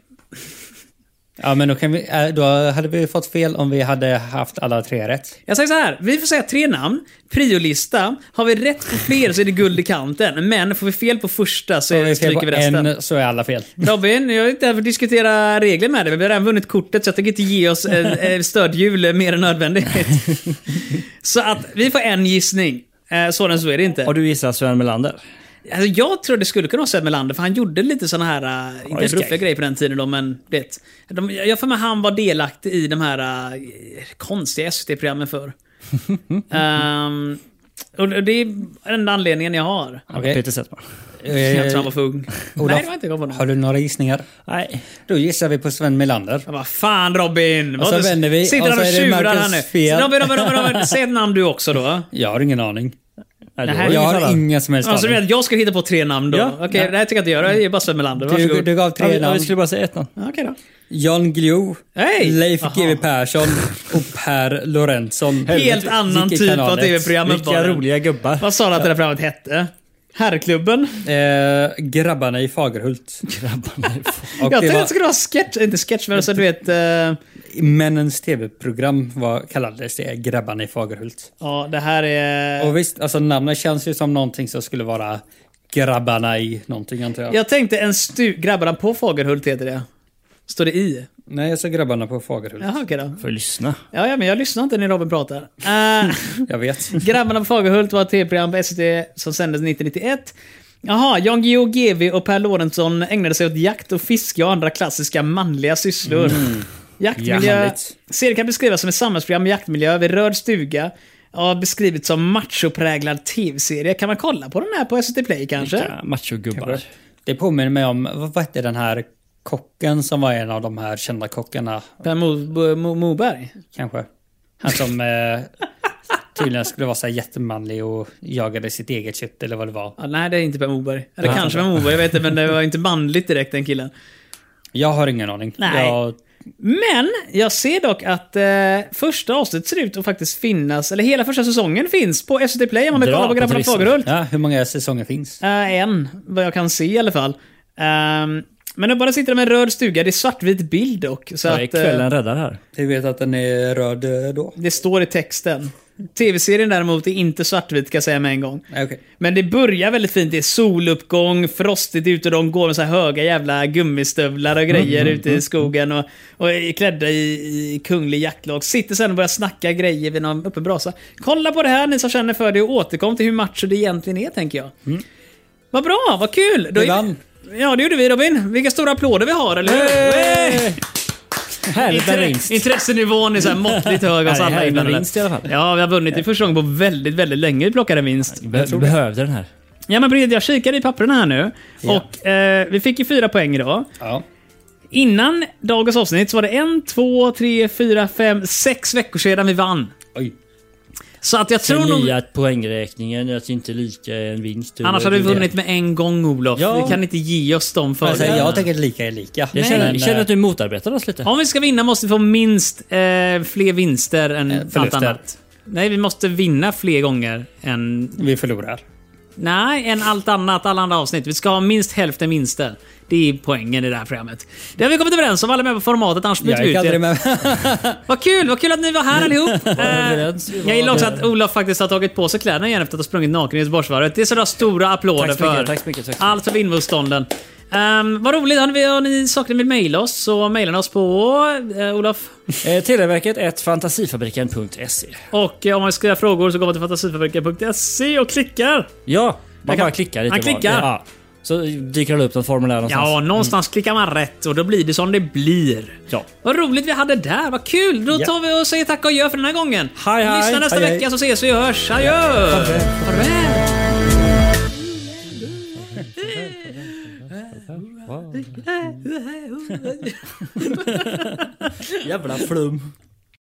men då, kan vi, eh, då hade vi fått fel om vi hade haft alla tre rätt.
Jag säger så här, vi får säga tre namn, priolista. Har vi rätt på fler så är det guld i kanten, men får vi fel på första så
Om vi är fel
stryker
på
vi resten.
en så är alla fel.
Robin, jag är inte här för att diskutera regler med dig, men vi har redan vunnit kortet så jag tänker inte ge oss eh, eh, stödhjul mer än nödvändigt. Så att vi får en gissning. Eh, Eh, Svårare än så är det inte.
Har du gissat Sven Melander?
Alltså, jag tror det skulle kunna vara Seb Melander, för han gjorde lite såna här, äh, inte
just det.
ruffiga grejer på den tiden då, men du vet. De, jag jag får med han var delaktig i de här äh, konstiga SVT-programmen för. Ehm, och det det är enda anledningen jag har.
Okej.
Peter Settman.
Jag tror han
Eh,
var för ung. Nej, det var inte jag på
har
honom.
du några gissningar?
Nej.
Då gissar vi på Sven Melander.
Vad fan Robin!
Och
Var inte-
så Alltså, vänder vi,
Sitter
och
han och
så är det
tjurar
Marcus
här nu?
fel.
Robin, Robin, Robin, Robin, säg ett namn du också då.
Jag har ingen aning.
Nej, det
Nej,
var ju
Jag
ingen
har
annan.
ingen som helst
Alltså, du menar
aning.
att jag ska hitta på tre namn då?
Ja.
Okej, det här tycker jag inte jag gör. Jag är bara Sven Melander.
Du,
Varsågod.
du gav
Ja,
tre
vi, ja, vi
namn.
skulle bara säga ett namn.
Okej då.
Jan Guillou,
Hej!
Leif
Aha.
GW Persson och Per Lorentzon.
Helt annan
Gick i
typ av
kanal ett.
tv-program än
Vilka roliga gubbar.
Vad sa du att det där programmet hette? Herrklubben?
Eh, grabbarna i Fagerhult. Och
jag
det
tänkte att det
var
skulle vara sketch, inte sketch, men så du vet... eh,
männens tv-program var, kallades det, Grabbarna i Fagerhult.
ja, det här är...
Och visst, alltså namnet känns ju som någonting som skulle vara Grabbarna i någonting antar jag.
Jag tänkte en stu... Grabbarna på Fagerhult heter det. Står det i?
Nej, jag sa Grabbarna på Fagerhult.
Jaha, okej då.
Får lyssna.
Ja, ja, men jag lyssnar inte när Robin pratar. Eh,
Jag vet.
Grabbarna på Fagerhult var ett tv-program på SVT som sändes 1991. Jaha, Jan Guillou, GV och Per Lorentzon ägnade sig åt jakt och fiske och andra klassiska manliga sysslor. Jaktmiljö.
Jävligt.
Serien kan beskrivas som ett samhällsprogram med jaktmiljö vid röd stuga. Ja, beskrivits som machopräglad tv-serie. Kan man kolla på den här på SVT Play kanske?
Ja, Machogubbar.
Det påminner mig om, vad vad hette den här kocken som var en av de här kända kockarna,
Per Mo Bo- Mo Moberg?
kanske? Han som eh, tydligen skulle vara så här jättemanlig och jagade sitt eget kött eller vad det var.
Ja, nej, det är inte Per Moberg. Eller kanske Per Moberg, jag vet inte, men det var inte manligt direkt den killen.
Jag har ingen aning.
Nej.
Jag,
Men jag ser dock att eh, första avsnittet ser ut att faktiskt finnas, eller hela första säsongen finns på SVT Play om man vill
Dra
kolla på
på
Grabbarna
turismen.
Fagerhult.
ja, hur många säsonger finns?
Eh, en, vad jag kan se i alla fall. Ehm, men nu bara sitter de med en röd stuga, det är svartvit bild dock. Så
Ja,
att,
är
eh,
kvällen räddar här.
Du vet att den är röd eh, då?
Det står i texten. Tv-serien däremot är inte svartvit kan jag säga med en gång.
Nej, Okej.
Men det börjar väldigt fint. Det är soluppgång, frostigt ute och de går med så här höga jävla gummistövlar och grejer
Mm,
ute i skogen. Och, och är klädda i, i kunglig jaktlag. Sitter sen och börjar snacka grejer vid någon öppen brasa. Kolla på det här ni som känner för det och återkom till hur macho det egentligen är tänker jag.
Mm.
Vad bra, vad kul! Då
Vi
är-
vann.
Ja, det gjorde vi Robin. Vilka stora applåder vi har, eller hur?
Eh,
Hey!
Härligt med vinst.
Intressenivån är så här måttligt hög hos
Ja,
alla
det är en
inblandade.
vinst i alla fall.
Ja, vi har vunnit. Det är första gången på väldigt, väldigt länge vi plockar en vinst.
Be- behövde den här.
Ja, men Bred, jag kikade i papperna här nu. Och eh, vi fick ju fyra poäng idag.
Ja.
Innan dagens avsnitt så var det en, två, tre, fyra, fem, sex veckor sedan vi vann.
Oj.
Så att jag tror
Den
nog...
nya poängräkningen, att det inte är lika en vinst.
Annars hade vi vunnit med en gång, Olof.
Ja.
Vi kan inte ge oss de
Alltså,
fördelarna.
jag tänker lika är lika.
Jag känner,
Men,
känner
eh,
att du motarbetar oss lite.
Om vi ska vinna måste vi få minst eh, fler vinster än allt
Eh, förluster.
annat. Nej, vi måste vinna fler gånger än...
Vi förlorar.
Nej, än allt annat, alla andra avsnitt. Vi ska ha minst hälften vinster. Det är poängen i det här programmet. Det har vi kommit överens om. Alla är med på formatet, annars byter
Jag
vi
gick
ut
aldrig
det.
med.
Vad kul! Vad kul att ni var här allihop!
överens, Mm. vi
Eh,
var
jag gillar också att
överens.
Olof faktiskt har tagit på sig kläderna igen efter att ha sprungit naken i Göteborgsvarvet. Det är sådana stora applåder
Tack så
för.
mycket, tack så mycket, tack så mycket.
Allt för vindmotstånden. Um, vad roligt! Har ni, har ni saker ni vill mejla oss så mejla oss på... eh, Olof?
Eh, Televerket 1 fantasifabriken.se.
Och eh, om man ska göra frågor så går man till fantasifabriken.se och klickar.
Ja, man
Jag kan-
bara klickar lite
Han
var.
klickar.
Ja. Så dyker det upp något formulär någonstans.
Ja, någonstans klickar man rätt och då blir det som det blir.
Mm. Ja.
Vad roligt vi hade där, vad kul! Då tar vi och säger tack och adjö för den här gången.
Hej, hej.
Lyssna nästa
Hej, hej.
vecka så ses vi och hörs. Adjö! Farväl!
Jävla flum.